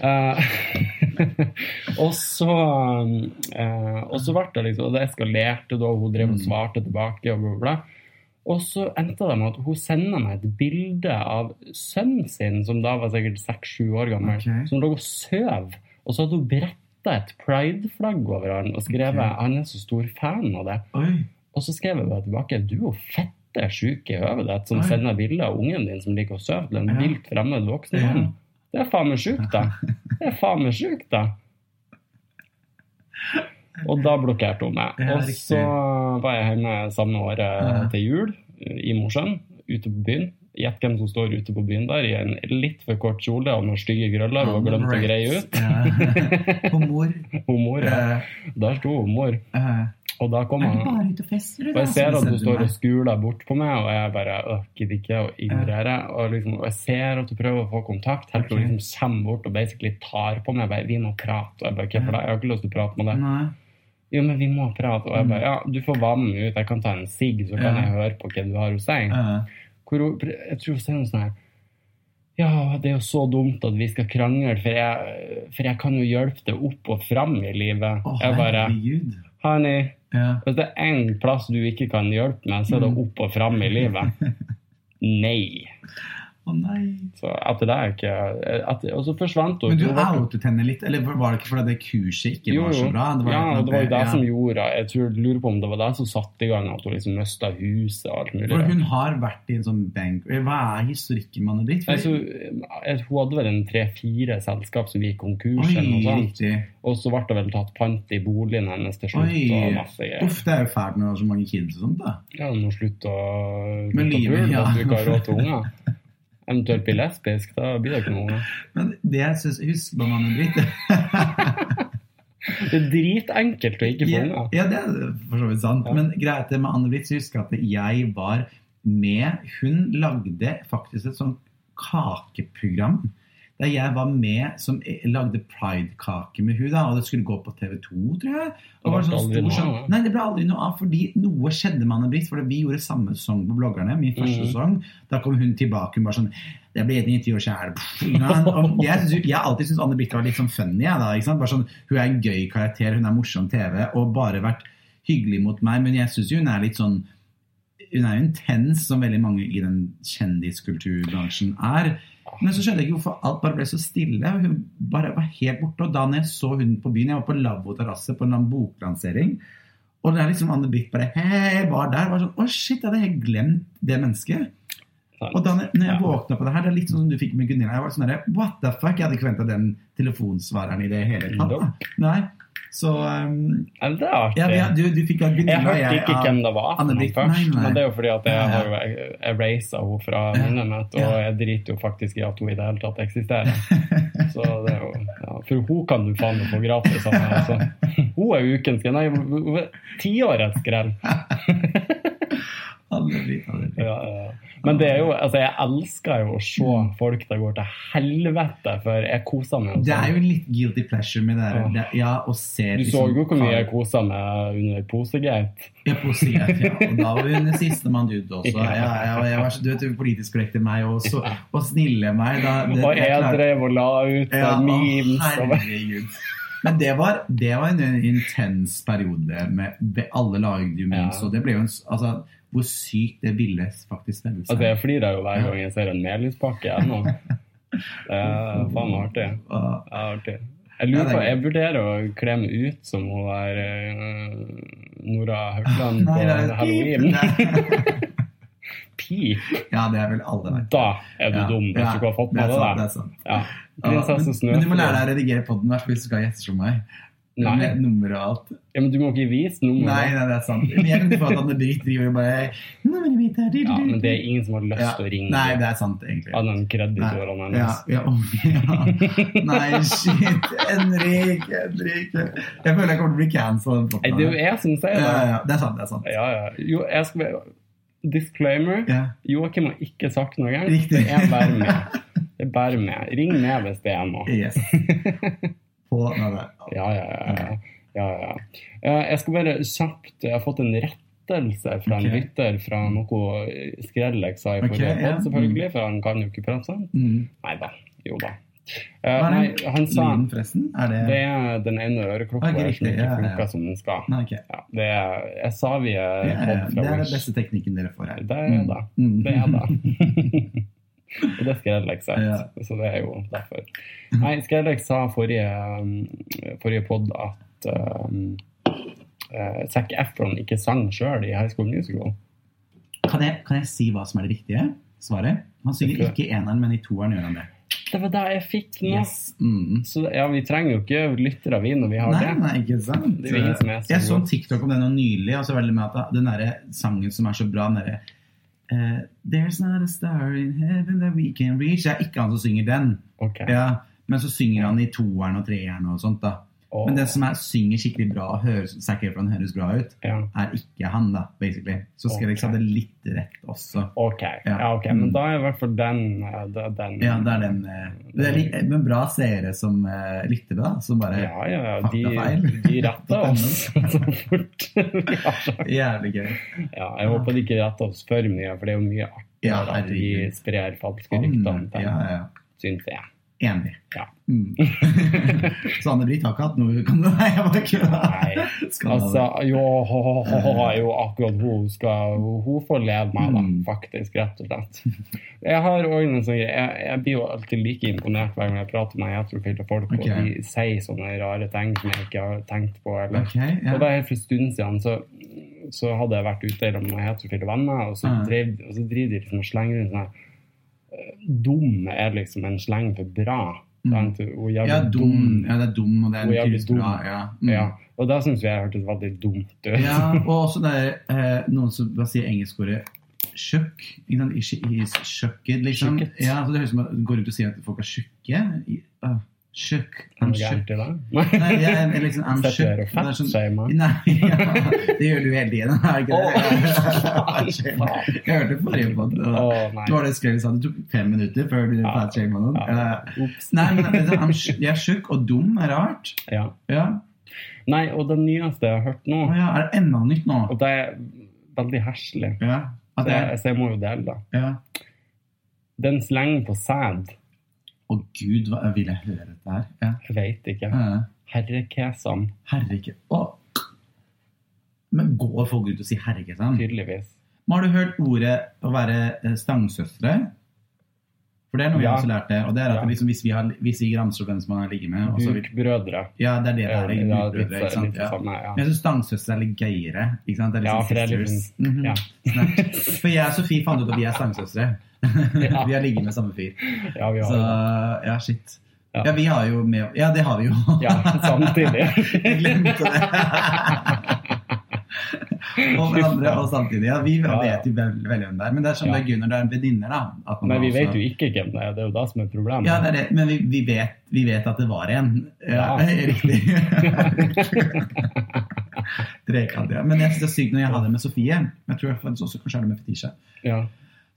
B: Eh, <laughs> og så eh, Og så ble det liksom Og det eskalerte da, og hun drev og
A: Mm.
B: svarte tilbake og bla, bla, bla. Og så endte det med at hun sender meg et bilde av sønnen sin, som da var sikkert seks-sju år gammel
A: Ok.
B: som lå og søv. Og så hadde hun bretta et prideflagg over han og skrevet
A: Ok.
B: han er så stor fan av det.
A: Oi!
B: Og så skrev jeg bare tilbake du er jo fette sjuk i hodet ditt som
A: Oi.
B: sender bilder av ungen din som liker å sove til en
A: Ja.
B: vilt fremmed voksen
A: Ja.
B: mann. Det sånn. er faen meg sjukt, da. Det er faen meg sjukt, da. Og da blokkerte hun meg.
A: Ja,
B: og
A: riktig.
B: så var jeg hjemme samme året
A: Ja.
B: til jul eh, i Mosjøen, ute på byen. Gjett hvem som står ute på byen der i en litt for kort kjole og noen stygge krøller og glemt å greie ut. <laughs>
A: Ja. Humor.
B: Humor, ja.
A: Eh,
B: Der sto humor.
A: eh,
B: Og da kom
A: er du
B: han.
A: bare ute og fester, du?
B: Og jeg ser at hun står og
A: og
B: skuler bort på meg, og jeg bare «Åh, gidder ikke å ignorere. Og, liksom, og jeg ser at hun prøver å få kontakt, helt til hun
A: Ok.
B: liksom kommer bort og basically tar på meg. Jeg bare, vi må prate. Og jeg bare, «Hva for det? Jeg har ikke lyst til å prate med deg.
A: Nei. Mm.
B: Jo, men vi må prate. Og jeg bare, ja, du får være med meg ut. Jeg kan ta en sigg, så kan
A: Ja.
B: jeg høre på hva du har å si.
A: eh,
B: Hvor hun, jeg tror hun sier noe sånn her Ja, det er jo så dumt at vi skal krangle, for jeg, for jeg kan jo hjelpe deg opp og fram i livet.
A: Å,
B: jeg bare
A: herregud.
B: Honey,
A: Ja.
B: hvis det er én plass du ikke kan hjelpe med, så er det
A: Mm.
B: opp og fram
A: <laughs>
B: i livet. Nei.
A: Å nei.
B: Så etter det er ikke etter, Og så forsvant hun.
A: Men du
B: Hun ble-
A: outet henne litt, eller var det ikke fordi det kurset ikke
B: jo,
A: var
B: jo.
A: så bra?
B: ja,
A: litt sånn
B: og det var jo det
A: ja.
B: som gjorde Jeg tror, lurer på om det var det som satte i gang at hun liksom mista huset og alt mulig.
A: For hun har vært i en sånn bank... Hva er historikken med Anne-Britt? For-
B: Altså, jeg- hun hadde vel en tre-fire selskap som gikk konkurs, eller noe
A: Oi,
B: sånt.
A: riktig.
B: Og så ble det vel tatt pant i boligen hennes til slutt.
A: Oi.
B: og masse greier.
A: Uff, det er jo fælt når du har så mange kids og sånt, da.
B: Ja, du må slutte å slutte
A: Men
B: å
A: livet,
B: pule
A: ja.
B: at du ikke har
A: <laughs>
B: råd til unger. Eventuelt bli lesbisk, da blir det ikke noe unger.
A: Men det jeg syns Husk på Anne-Britt.
B: <laughs> Det er dritenkelt å ikke få
A: Ja,
B: unger.
A: Ja, det er for så vidt sant.
B: Ja.
A: Men greit det med Anne-Britt, så husker jeg at jeg var med Hun lagde faktisk et sånt kakeprogram. Der jeg var med som eh, lagde pridekake med hun da, og det skulle gå på TV 2, tror jeg. Og
B: Det
A: var
B: ble
A: sånn
B: aldri
A: stor,
B: noe
A: sånn,
B: av det.
A: nei, det ble aldri noe av, fordi noe skjedde med Anne-Britt. fordi Vi gjorde samme sesong på Bloggerne, min første
B: Mhm.
A: sesong. Da kom hun tilbake hun bare sånn Jeg ble enig i intervjuet sjæl. Jeg, synes- jeg har alltid syntes Anne Birka var litt sånn funny. Jeg, da, ikke sant? Bare sånn, hun er en gøy karakter, hun er morsom TV, og bare vært hyggelig mot meg. Men jeg syns jo hun er litt sånn Hun er jo intens, som veldig mange i den kjendiskulturbransjen er. Men så skjønte jeg ikke hvorfor alt bare ble så stille. Hun bare var helt borte. Og da når jeg så hun på byen Jeg var på lavvo terrasse på en eller annen boklansering. Og det er liksom Anne Britt bare Hei, var der. Var sånn, Å, shit, jeg hadde helt glemt det mennesket.
B: Sant.
A: Og da når når jeg
B: Ja.
A: våkna på det her, det er litt sånn som du fikk med Gunilla. Jeg var sånn der, What the fuck? Jeg hadde ikke venta den telefonsvareren i det hele tatt. Da. Nei. Så um,
B: Ja, det er artig.
A: ja, vi- du, du fikk av
B: Jeg
A: Gunilla og
B: hørte
A: jeg
B: ikke
A: av-
B: hvem det var for
A: Anne
B: noen
A: Britt,
B: først,
A: nei, nei.
B: men det er jo fordi at
A: Ja,
B: jeg
A: ja.
B: har jo erasa henne fra
A: Ja,
B: minnet mitt, og
A: ja.
B: jeg driter jo faktisk i at hun i det hele tatt eksisterer. Så det er jo, ja, for hun kan du faen meg få gratis av meg. Altså. Hun er ukens grell. Nei, hun er tiårets grell.
A: Anne Britt, Anne Britt.
B: Ja, ja. Men det er jo, altså, jeg elsker jo å se folk det går til helvete for. Jeg koser meg. jo
A: Mm. Det er
B: sånn.
A: jo litt guilty pleasure med det her.
B: Ja.
A: Det, ja, å se liksom
B: Du så jo hvor mye jeg kosa meg under Posegate.
A: Ja, på siden, ja. Og da var hun sistemann ut også. Ja, ja, og jeg var, så- du vet, politisk korrekte meg og, så, og snille meg. Da, det-
B: Og
A: det er
B: jeg
A: klart-
B: drev og la ut
A: Ja, å,
B: memes. Og,
A: herregud. Men det var, det var en intens periode. Med, det- alle lagde jo memes,
B: Ja.
A: og det ble jo en s- altså, Hvor sykt det ville faktisk være.
B: Altså, jeg flirer jo hver gang jeg ser en melispakke ennå. Det er faen meg artig.
A: Og-
B: Det er artig. Jeg lurer
A: Ja, det er
B: på,
A: gøy.
B: jeg vurderer å kle meg ut som hun der eh, Nora Haugland på
A: Nei, det er-
B: halloween.
A: Det-
B: Pi!
A: <laughs> Ja, det er vel alle der.
B: Da er du
A: Ja,
B: dum hvis
A: ja,
B: du ikke har fått
A: det er
B: med
A: sant, det
B: deg det.
A: er sant.
B: Ja.
A: Ja,
B: Prinsesse
A: men, men du må
B: Snøfri.
A: lære deg å redigere podden hvert fall hvis du skal gjette som meg.
B: Nei.
A: Med nummer og alt.
B: Ja, men du må ikke vise
A: Nei,
B: nummeret.
A: nei, det er sant. Men jeg kan ikke få at Anne Britt driver og bare Nummeret mitt er
B: Ja, men det er ingen som har lyst til å ringe
A: Nei, det er sant, egentlig.
B: annet enn kreditorene
A: Ja,
B: hennes.
A: ja, om- ja. Nei, shit. Henrik, Henrik. Jeg føler jeg kommer til å bli cancelled. den
B: Nei,
A: podden
B: Det er
A: her.
B: jo jeg som
A: ja,
B: sier det.
A: ja, det er sant. det er sant.
B: Ja, ja. Jo, jeg skal bare Disclaimer.
A: Ja,
B: Joakim har ikke sagt noe gærent.
A: Riktig.
B: Det er bare
A: <laughs>
B: med. Det er bare med. Ring med hvis det er noe. <laughs>
A: yes. På, nei, nei.
B: Ja, ja, ja, ja. ja, ja. Eh, Jeg skal bare kjapt Jeg har fått en rettelse fra en
A: Ok.
B: lytter fra noe Skrellex sa i
A: Ok,
B: forrige
A: ja.
B: podd, selvfølgelig, for han kan jo ikke prate sånn.
A: Mm.
B: Nei da. Jo da.
A: Hva
B: Eh,
A: er
B: Nei,
A: den
B: han sa
A: Lyden, forresten? Er det,
B: det er den ene øreklokka
A: Ok,
B: der som
A: riktig,
B: ikke
A: ja, ja, ja.
B: funker som den skal.
A: Nei, ok.
B: Ja, det er, jeg sa vi
A: Ja,
B: er
A: ja, ja.
B: podd
A: Det
B: fra
A: er den
B: Wish.
A: beste teknikken dere får her.
B: Det er det.
A: Mm.
B: Det er det. <laughs> Og det Skrellex sa,
A: Ja.
B: så det er jo derfor. Nei, Skrellex sa forrige, um, forrige pod at um, eh, Zac Efron ikke sang sjøl i High School Musical.
A: Kan jeg, kan jeg si hva som er det riktige svaret? Han synger
B: Jeg tror
A: ikke i eneren, men i toeren gjør han det.
B: Det var det jeg fikk nå.
A: Yes. Mm.
B: Så ja, vi trenger jo ikke lyttere, vi, når vi har
A: Nei,
B: det.
A: nei, ikke sant?
B: Det er jo ingen som er så
A: jeg så
B: god.
A: en TikTok om det nå nylig. Og så var det med at Den derre sangen som er så bra, den derre eh, There's not a star in heaven that we can reach. Det er ikke han som synger den.
B: Ok.
A: Ja, men så synger han i toeren og treeren og sånt, da.
B: Og-
A: Men den som er, synger skikkelig bra og høres, Zac Efron høres bra ut,
B: ja.
A: er ikke han, da, basically. Så skal jeg
B: Ok.
A: hadde litt rett også.
B: Ok,
A: Ja. Mm.
B: ja, ok. men da er i hvert fall den, eh, det er den
A: Ja, det er den eh, det er li- Men bra seere som eh, lyttere, da. Som bare
B: Ja, ja, ja, de,
A: Faktafeil.
B: de
A: <laughs>
B: retter oss <laughs> så fort <laughs> vi har det.
A: Jævlig gøy.
B: Ja, jeg håper de ikke retter oss for mye, for det er jo mye
A: Ja,
B: artigere at de
A: herregud.
B: sprer falske rykter om
A: Sånn,
B: det,
A: ja, ja.
B: syns jeg.
A: Enig.
B: Ja. <laughs>
A: Mm. så Anne-Britt har ikke hatt noe hun kan <laughs> Nei, jeg bare kødda.
B: Nei. Altså, jo, ho, ho, ho, ho, jo akkurat hun skal Hun får leve meg, da,
A: Mm.
B: faktisk, rett og slett. Jeg har også en sånn greie jeg, jeg blir jo alltid like imponert hver gang jeg prater med heterofile folk,
A: Ok.
B: og de sier sånne rare ting som jeg ikke har tenkt på. eller
A: Ok, ja.
B: Og det er helt for en stund siden så, så hadde jeg vært ute med noen heterofile venner, og så,
A: Ja.
B: drev, og så driver de liksom og slenger rundt sånn her eh, Dum er liksom en sleng for bra.
A: Mm.
B: sant? Og jævlig
A: ja, dum. Ja, det er dum, og det er
B: Hun er jævlig
A: tydeligvis bra.
B: dum.
A: Ja. Mm.
B: Ja. Og det syns jeg hørtes veldig dumt ut.
A: <laughs> ja, og også det er eh, noen som hva sier engelskordet Sjøkk. Ikke sant? Is- Is sjøkket, liksom.
B: Sjøkket.
A: Ja, så det høres ut som at går rundt og sier at folk er tjukke. I- ah, Sjøkk.
B: Er
A: I'm
B: det
A: sjøkk.
B: gærent i det? Nei.
A: Nei, jeg er liksom I'm
B: Setter
A: sjøkk.
B: dere
A: Det er sånn <laughs>
B: fettshamer?
A: Nei, ja, det gjør du hele tiden. <laughs> Er det <laughs> ikke det? Jeg hørte forrige på det.
B: Å, nei.
A: Det var det skrevet sa, det tok fem minutter før du
B: Ja.
A: fat shama noen.
B: Ja.
A: Eh,
B: Ops.
A: Nei, men vet du, I'm sj- jeg er tjukk og dum er rart.
B: Ja.
A: Ja.
B: Nei, og det nyeste jeg har hørt nå,
A: Å ja, er det enda nytt nå?
B: og det er veldig heslig,
A: Ja. At
B: så
A: det
B: jeg,
A: er,
B: så jeg må jo dele det.
A: ja.
B: Den slenger på sæd.
A: Å gud, hva, vil jeg høre dette her? Ja.
B: Jeg vet ikke.
A: Eh,
B: Herrekesene,
A: Herreke... Å. Men går folk ut og sier herrekesam?
B: tydeligvis.
A: Men Har du hørt ordet å være eh, stangsøstre? For det er noe jeg
B: Ja.
A: også lærte. Og det er at
B: Ja.
A: liksom, hvis vi, har, hvis vi granser hvem som man har ligget med og så vil,
B: Bukbrødre.
A: Ja, det er det det er.
B: Ja,
A: ikke
B: ja,
A: utbrødre,
B: litt,
A: ikke sant?
B: litt det
A: Ja.
B: samme, ja.
A: Men jeg syns stangsøstre er litt gøyere. Ikke sant? Det er
B: Ja, for det er
A: liksom
B: litt
A: sisters.
B: sånn-
A: Mhm.
B: ja.
A: Snakk. For jeg og Sofie fant ut at vi er stangsøstre.
B: Ja.
A: <laughs> vi har ligget med samme fyr.
B: ja, vi
A: Så
B: har
A: ja, shit.
B: Ja.
A: Ja, vi har jo med Ja, det har vi jo.
B: Ja, <laughs> samtidig.
A: <laughs> jeg glemte det.
B: <laughs>
A: og hverandre og samtidig. Ja, vi
B: Ja, ja.
A: vet jo veldig, veldig hvem det er. Men det er sånn
B: Ja.
A: det er gøy når det er venninner, da. At
B: Nei, vi
A: også-
B: vet jo ikke hvem det er. Det er jo det som er
A: altså.
B: problemet. <laughs>
A: Ja, det er det. Men vi, vi, vet, vi vet at det var en. Ja,
B: Ja.
A: <laughs> Riktig.
B: <laughs>
A: Trekant, ja. Men jeg synes det er sykt når jeg har det med Sofie. Jeg tror jeg faktisk også kanskje har det med Fetisha.
B: Ja.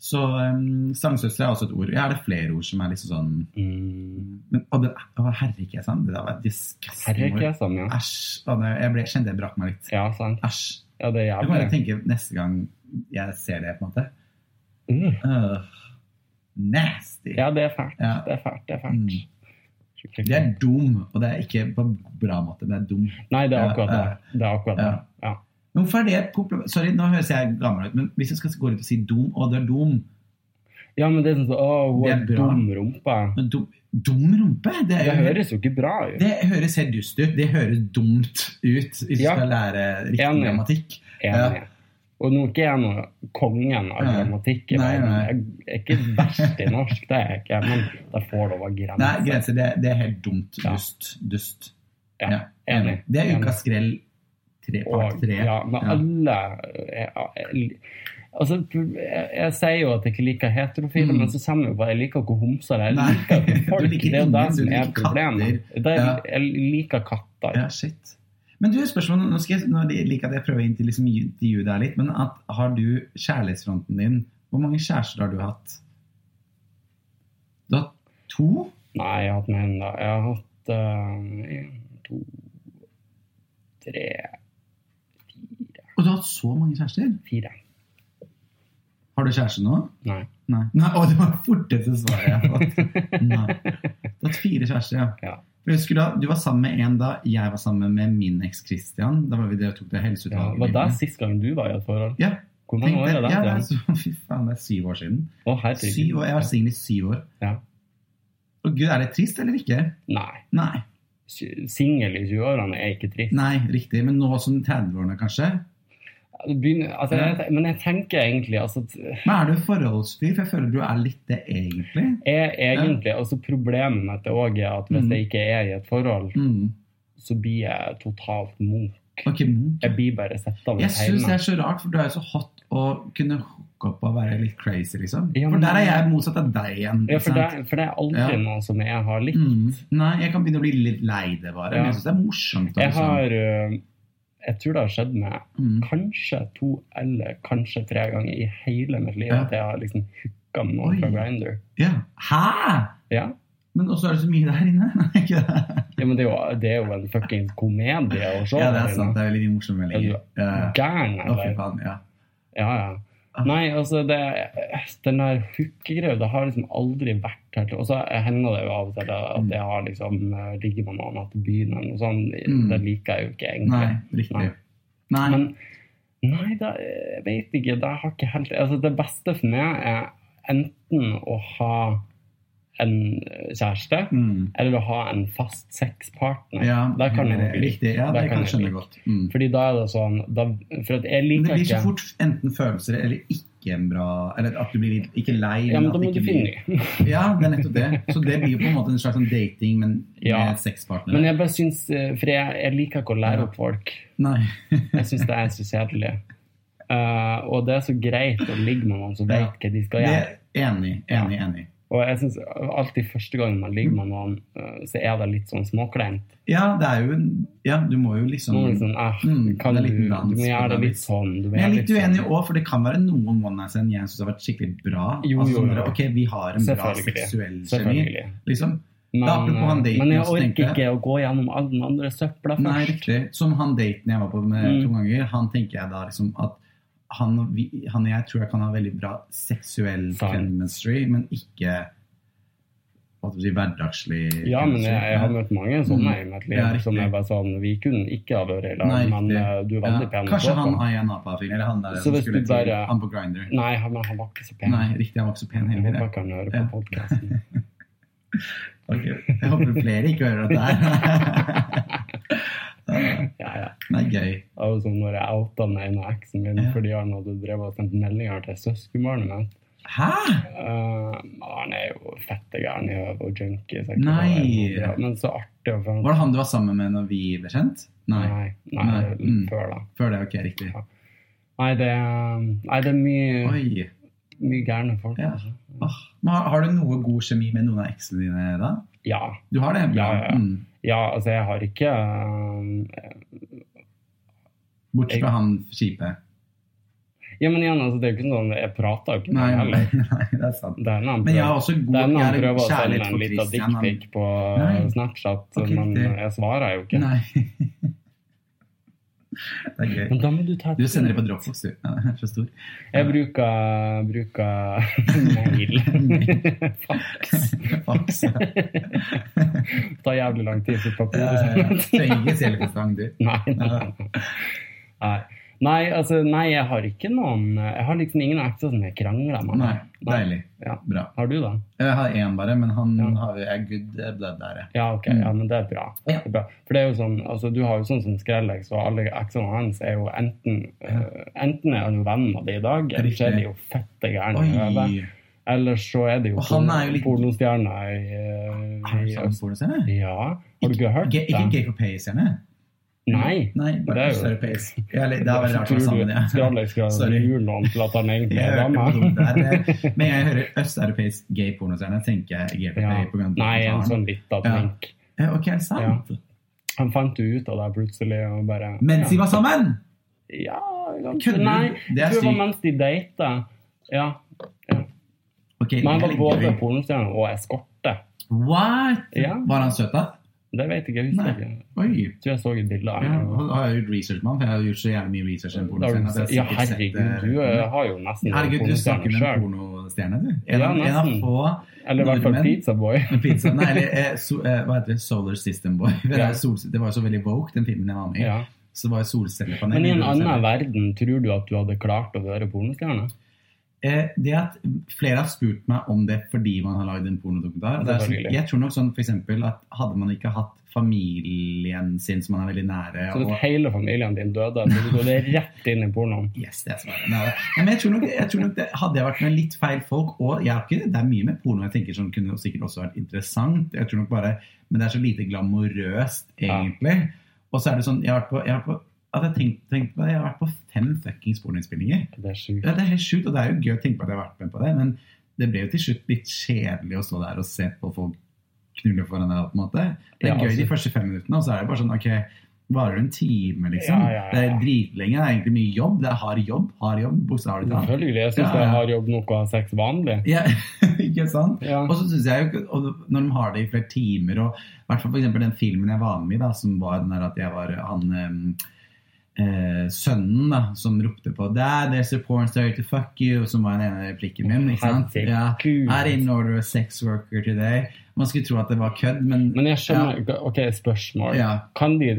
A: Så um, stangsøstre er også et ord. Jeg har det flere ord som er liksom sånn
B: Mm.
A: men, Og det å, herregud, sant? Det der var et disgusting ord.
B: Herrekesene, ja.
A: Æsj. Å, nei, Jeg ble, kjente jeg brakk meg litt.
B: Ja, sant.
A: Æsj.
B: Ja, det er
A: Jeg kan jo
B: jævlig.
A: tenke neste gang jeg ser det, på en måte.
B: Mm.
A: Øh, nasty.
B: Ja, det er fælt.
A: Ja.
B: Det er fælt. Det er
A: Mm.
B: fælt.
A: Det er dum, og det er ikke på en bra måte, men det er dum.
B: Nei, det er
A: Ja,
B: akkurat det. Det er akkurat det.
A: Ja.
B: Ja.
A: Men hvorfor er det et kompliment? Sorry, nå høres jeg gammel ut, men hvis jeg skal gå rundt og si dum, å, du er dum,
B: Ja, men det er sånn sånn Å, hun
A: Det
B: har
A: er bra.
B: dum rumpe.
A: men dum, dum rumpe? Det, er
B: Det
A: jo,
B: høres jo ikke bra ut.
A: det høres helt dust ut. Det høres dumt ut hvis
B: Ja.
A: du skal lære riktig
B: Enig.
A: grammatikk.
B: Enig. Og nå er ikke jeg noe kongen av
A: Nei.
B: grammatikk. i
A: Nei,
B: verden.
A: nei.
B: Jeg er ikke verst i norsk, det er jeg ikke. Men det får lov å
A: Nei,
B: grense.
A: grenser, det, det er helt dumt.
B: Ja.
A: Dust. Dust.
B: Ja,
A: Ja,
B: Enig.
A: Det er
B: Enig.
A: ukas skrell tre, part
B: Og,
A: tre.
B: ja, men
A: Ja.
B: alle jeg, jeg, Altså, jeg, jeg sier jo at jeg ikke liker heterofile,
A: Mm.
B: men så kommer jeg jo bare Jeg liker ikke homser. Jeg
A: Nei,
B: liker ikke
A: <laughs>
B: folk.
A: du liker
B: det er
A: ingen,
B: jo det
A: du
B: som er
A: liker
B: problemet. Det er,
A: Ja.
B: jeg liker katter.
A: Ja, shit. Men du, spørsmålet, nå, skal jeg, nå liker jeg at jeg prøver å inntil liksom, intervjue deg litt, men at, har du kjærlighetsfronten din, hvor mange kjærester har du hatt? Du har hatt to?
B: Nei, jeg har hatt med en da. Jeg har hatt eh, en, to, tre,
A: Og du har hatt så mange kjærester?
B: fire.
A: Har du kjæreste nå?
B: Nei.
A: Nei. Nei å, det var det forteste svaret jeg har fått.
B: <laughs>
A: Nei. Du har hatt fire kjærester, ja.
B: Ja.
A: For jeg husker da, du var sammen med en da jeg var sammen med min eks Christian. Da var vi der og tok det
B: Ja,
A: helseutvalget.
B: var det sist gang du var i et forhold?
A: Ja.
B: Hvor mange
A: Tenk
B: år
A: det.
B: er det?
A: Ja, det
B: siden?
A: er, så, <laughs> fy faen, det er syv år siden.
B: Å, herregud.
A: Syv år, Jeg har vært singel i syv år.
B: Ja.
A: Og gud, er det trist eller ikke?
B: Nei.
A: Nei.
B: Singel i 20-årene er ikke trist.
A: Nei, riktig. Men nå som 30-årene, kanskje?
B: Det Begynner, altså,
A: Ja.
B: jeg, men jeg tenker egentlig altså, at
A: Men er du forholdsfyr? For jeg føler du er litt det, egentlig.
B: jeg, egentlig, altså, Problemet mitt er også at hvis
A: Mm.
B: jeg ikke er i et forhold,
A: Mm.
B: så blir jeg totalt munk.
A: Ok, Munch.
B: Jeg blir bare sittende
A: Jeg syns det er så rart, for du er jo så hot å kunne hooke opp og være litt crazy, liksom.
B: Ja,
A: For
B: men-
A: der er jeg motsatt av deg igjen.
B: Ja,
A: ikke
B: for,
A: sant?
B: det, for det er aldri
A: Ja.
B: noe som jeg har likt.
A: Mm. Nei, jeg kan begynne å bli litt lei det bare.
B: Ja.
A: Men jeg syns det er morsomt. da,
B: Jeg
A: liksom.
B: har øh, Jeg tror det har skjedd meg
A: Mm.
B: kanskje to eller kanskje tre ganger i hele mitt liv
A: Ja.
B: at jeg har liksom hooka med noen fra
A: Oi.
B: Grindr.
A: Ja. Hæ?!
B: Ja.
A: Men også er det så mye der inne. <laughs> Nei, ikke det.
B: ja, men det er jo, det er jo en fuckings komedie å se.
A: Ja, det er
B: der inne.
A: sant. Det er veldig mye morsomme meldinger. Ja.
B: Gæren
A: Å,
B: er
A: fy
B: det.
A: faen. Ah. Ja.
B: Ja, ja. Nei, altså, det, den der hookegreia, det har liksom aldri vært helt Og så hender det jo av og til at jeg har liksom eh, ligget med noen etter byen eller noe sånt.
A: Mm.
B: Det liker jeg jo ikke egentlig.
A: Nei, riktig.
B: Nei.
A: Nei.
B: Men nei, da, jeg vet ikke. Det har ikke helt Altså, det beste for meg er enten å ha en eh, kjæreste
A: mm.
B: eller å ha en fast sexpartner.
A: Ja,
B: det kan jeg
A: det
B: like.
A: riktig. Ja,
B: Det
A: det
B: kan
A: kan
B: jeg
A: jeg skjønne
B: like.
A: godt. Mm.
B: Fordi da er det sånn da, For at jeg
A: Men
B: liker
A: det blir
B: ikke
A: så fort enten følelser eller ikke en bra Eller at du blir litt, ikke lei. men
B: Ja,
A: at
B: men da
A: det
B: må
A: ikke
B: du
A: blir-
B: finne ny.
A: Ja, det er nettopp det. Så det blir jo på en måte en slags sånn dating, men
B: Ja.
A: med sexpartnere.
B: Men jeg bare syns eh, For jeg, jeg liker ikke å lære opp folk.
A: Nei.
B: Jeg syns det er så kjedelig. Eh, og det er så greit å ligge med noen som
A: Ja.
B: vet hva de skal
A: Det
B: gjøre.
A: er enig, enig, enig.
B: Og jeg synes alltid første gang man ligger med noen, eh, så er det litt sånn småkleint.
A: Ja, det er jo en- Ja, du må jo liksom
B: Noen er sånn, eh,
A: Mm,
B: kan
A: det
B: du,
A: er litt
B: du
A: dans
B: må
A: på
B: gjøre det
A: det
B: litt sånn. Du må
A: Men jeg er
B: gjøre
A: litt
B: litt sånn.
A: uenig òg, for det kan være noen one night stand jeg syns har vært skikkelig bra.
B: Jo,
A: altså,
B: jo,
A: sånn
B: jo.
A: der, Ok, vi har en bra
B: Selvfølgelig.
A: seksuell kjemi,
B: Selvfølgelig.
A: liksom.
B: Men,
A: Da, apropos han
B: eh,
A: daten,
B: men jeg
A: så
B: orker
A: tenkte jeg-
B: ikke å gå gjennom all den andre søpla
A: Nei,
B: først.
A: riktig. Som han daten jeg var på med
B: Mm.
A: to ganger, han tenker jeg da liksom at han, og vi, han og jeg tror jeg kan ha veldig bra seksuell
B: Fine.
A: chemistry, men ikke hva skal jeg si, hverdagslig
B: Ja, men jeg,
A: chemistry.
B: jeg har møtt mange sånne i mitt liv
A: Ja, Mm. riktig.
B: som er bare sånn Vi kunne ikke ha vært i lag,
A: Nei,
B: men
A: riktig.
B: eh, du er veldig pen. å
A: Kanskje
B: se
A: han
B: på.
A: Aya Napa-fyren, eller han der
B: Så
A: som
B: hvis
A: skulle
B: du
A: til
B: bare-
A: Han på Grinder.
B: Nei, han, han var ikke så pen.
A: Nei, riktig, han var ikke så pen
B: jeg
A: heller.
B: håper
A: jeg.
B: ikke han hører på
A: Ja. <laughs>
B: podcasten.
A: Ok, Jeg håper flere ikke hører dette
B: <laughs>
A: her.
B: Ja, ja.
A: Nei, gøy.
B: Det var jo som når jeg outa den ene eksen min
A: Ja.
B: fordi han hadde drevet og sendt meldinger til søskenbarnet mitt.
A: Hæ?
B: Eh, han er jo fette gæren i hodet og junkie. sikkert.
A: Nei.
B: Ja, Men så artig. å få-
A: Var det han du var sammen med når vi ble kjent? Nei.
B: Nei, nei,
A: Nei, mm.
B: før da.
A: Før det, ok, riktig.
B: Nei, det, er- nei, det er mye,
A: Oi.
B: mye gærne folk.
A: Ja.
B: altså.
A: Åh, Men har, har du noe god kjemi med noen av eksene dine da?
B: Ja.
A: Du har det?
B: Ja, ja, ja.
A: Mm.
B: ja, altså jeg har ikke eh,
A: Bortsett fra han kjipe.
B: Ja, men igjen, altså, det er jo ikke sånn jeg prater jo ikke med
A: Nei,
B: han
A: nei,
B: heller.
A: <laughs> nei, det er sant.
B: Det er en annen
A: Men jeg
B: prøve.
A: har også god
B: Det er en annen
A: jeg har
B: prøve å sende
A: kjærlighet
B: sånn en
A: for
B: liten
A: Christian, han-
B: dickpic på eh,
A: Nei.
B: Snapchat,
A: Ok,
B: men
A: riktig.
B: jeg svarer jo ikke.
A: <laughs> Nei. Det er gøy.
B: Men da må du ta
A: Du sender det
B: <laughs>
A: på Dropbox, du. Ja, det er så stor.
B: Jeg bruker, bruker <laughs>
A: <laughs>
B: mail. <laughs> Fax.
A: Fax. Ja,
B: Det tar jævlig lang tid for
A: ja, ja.
B: papir.
A: Eh, Trenger ikke selekestang, du.
B: <laughs> Nei, nei. nei. Nei, altså, nei, jeg har ikke noen Jeg har liksom ingen ekser som jeg krangler med.
A: Nei, deilig.
B: Ja.
A: Bra.
B: Har du, da?
A: Jeg har én bare, men han
B: Ja.
A: har, er good blood der. ja.
B: Ja, ok. Ja, men det er bra.
A: Mm. Ja.
B: Det er bra. For det er jo sånn, altså, du har jo sånn som Skrellex, og alle eksene hans er jo enten øh, Enten er han jo venn av det i dag, eller så er de jo fette gærne i øvet.
A: Oi!
B: Eller så er det jo
A: Og han er jo litt-
B: pornostjerner i, øh,
A: Har du
B: i
A: sånn
B: øst.
A: pornostjerne?
B: Ja. Har du ikke hørt
A: Ikke, ikke
B: det?
A: gay for pay-stjerne?
B: Nei.
A: Nei,
B: Det
A: bare
B: er jo-
A: større pace. Ja, eller, det er veldig rart å være
B: Tror du
A: sammen, ja. <laughs>
B: Skrellex skal
A: Sorry.
B: lure noen til at han egentlig
A: <laughs> Jeg
B: er
A: hørte hvor
B: dame?
A: dumt det er. Men jeg hører østeuropeisk gay pornostjerne, tenker jeg gay for
B: Ja.
A: pay på grunn av
B: <laughs> Nei, en
A: dokumentaren.
B: sånn lita
A: Ja.
B: tenk.
A: Ja, Ok, er det sant?
B: Han fant jo ut av det plutselig og bare
A: Mens de var sammen!
B: Ja, ja
A: Kødder du?
B: Nei,
A: Det er
B: jeg tror det var
A: sykt.
B: mens de data. Ja.
A: Ok,
B: Men han var
A: jævlig
B: både
A: gøy.
B: pornostjerne og eskorte.
A: What?
B: Ja.
A: Var han søt, da?
B: Det vet jeg ikke. Jeg
A: Nei.
B: husker ikke.
A: Oi!
B: Jeg tror jeg så et bilde av
A: Ja,
B: ham.
A: har jeg gjort research med han, for jeg har gjort så jævlig mye research om
B: Da har du
A: pornostjerner. at
B: sett-
A: jeg
B: Ja,
A: har sikkert sett,
B: herregud,
A: eh,
B: du eh, har jo nesten vært
A: Herregud, du snakker
B: pornostjerne
A: med en
B: sjøl.
A: pornostjerne, du. En,
B: Ja,
A: av- en av
B: nesten.
A: få
B: Eller i hvert fall
A: nordmenn. <laughs>
B: pizzaboy.
A: pizza, nei, eller, eh, so, eh, hva heter det, Solar System Boy. <laughs> Det,
B: Ja.
A: er sol, det var jo så veldig woke, den filmen jeg var med i.
B: Ja.
A: Så det var jo solcellepanel.
B: Men i en annen verden, tror du at du hadde klart å være pornostjerne?
A: Eh, det at flere har spurt meg om det fordi man har lagd en pornodokumentar. og Det er sånn,
B: Selvfølgelig.
A: jeg tror nok sånn for eksempel at hadde man ikke hatt familien sin som man er veldig nære
B: Så hvis
A: og,
B: hele familien din døde, så du gått rett inn i pornoen?
A: Yes, det er svaret. Nei, det- Nei, men jeg tror nok, jeg tror nok det, Hadde jeg vært med litt feil folk og jeg har ikke, Det er mye med porno jeg tenker som kunne sikkert også vært interessant, jeg tror nok bare, men det er så lite glamorøst, egentlig. Og så er det sånn Jeg har vært på, jeg har vært på at jeg tenkt, tenkt på det, jeg har vært på fem fuckings pornoinnspillinger.
B: Det er sjukt.
A: Ja, det er helt sjukt, og det er jo gøy å tenke på at jeg har vært med på det, men det ble jo til slutt litt kjedelig å stå der og se på folk knulle foran deg, på en måte. Det er
B: Ja,
A: gøy
B: altså-
A: de første fem minuttene, og så er det bare sånn, ok, varer det en time, liksom?
B: Ja, ja, ja.
A: Det er dritlenge, det er egentlig mye jobb, det er hard jobb, hard jobb, bokstavelig talt.
B: Selvfølgelig. Jeg syns
A: Ja, ja.
B: jeg har jobb nok å ha sex vanlig.
A: Ja, <laughs> ikke sant?
B: Ja.
A: Og så synes jeg jo, ikke- og når de har det i flere timer, og i hvert fall for eksempel den filmen jeg var med i, da, som var den der at jeg var han em, eh, sønnen da, som ropte på Dad, there's a porn star to fuck you, som var den ene replikken min. ikke sant?
B: Herregud.
A: Ja, I didn't order a sex worker today. Man skulle tro at det var kødd, men,
B: Men jeg skjønner ikke OK, spørsmål.
A: ja,
B: Kan de,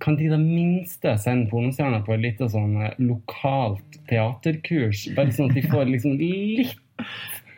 B: kan de i det minste sende pornostjerner på et lite sånn eh, lokalt teaterkurs? Bare sånn at de får liksom litt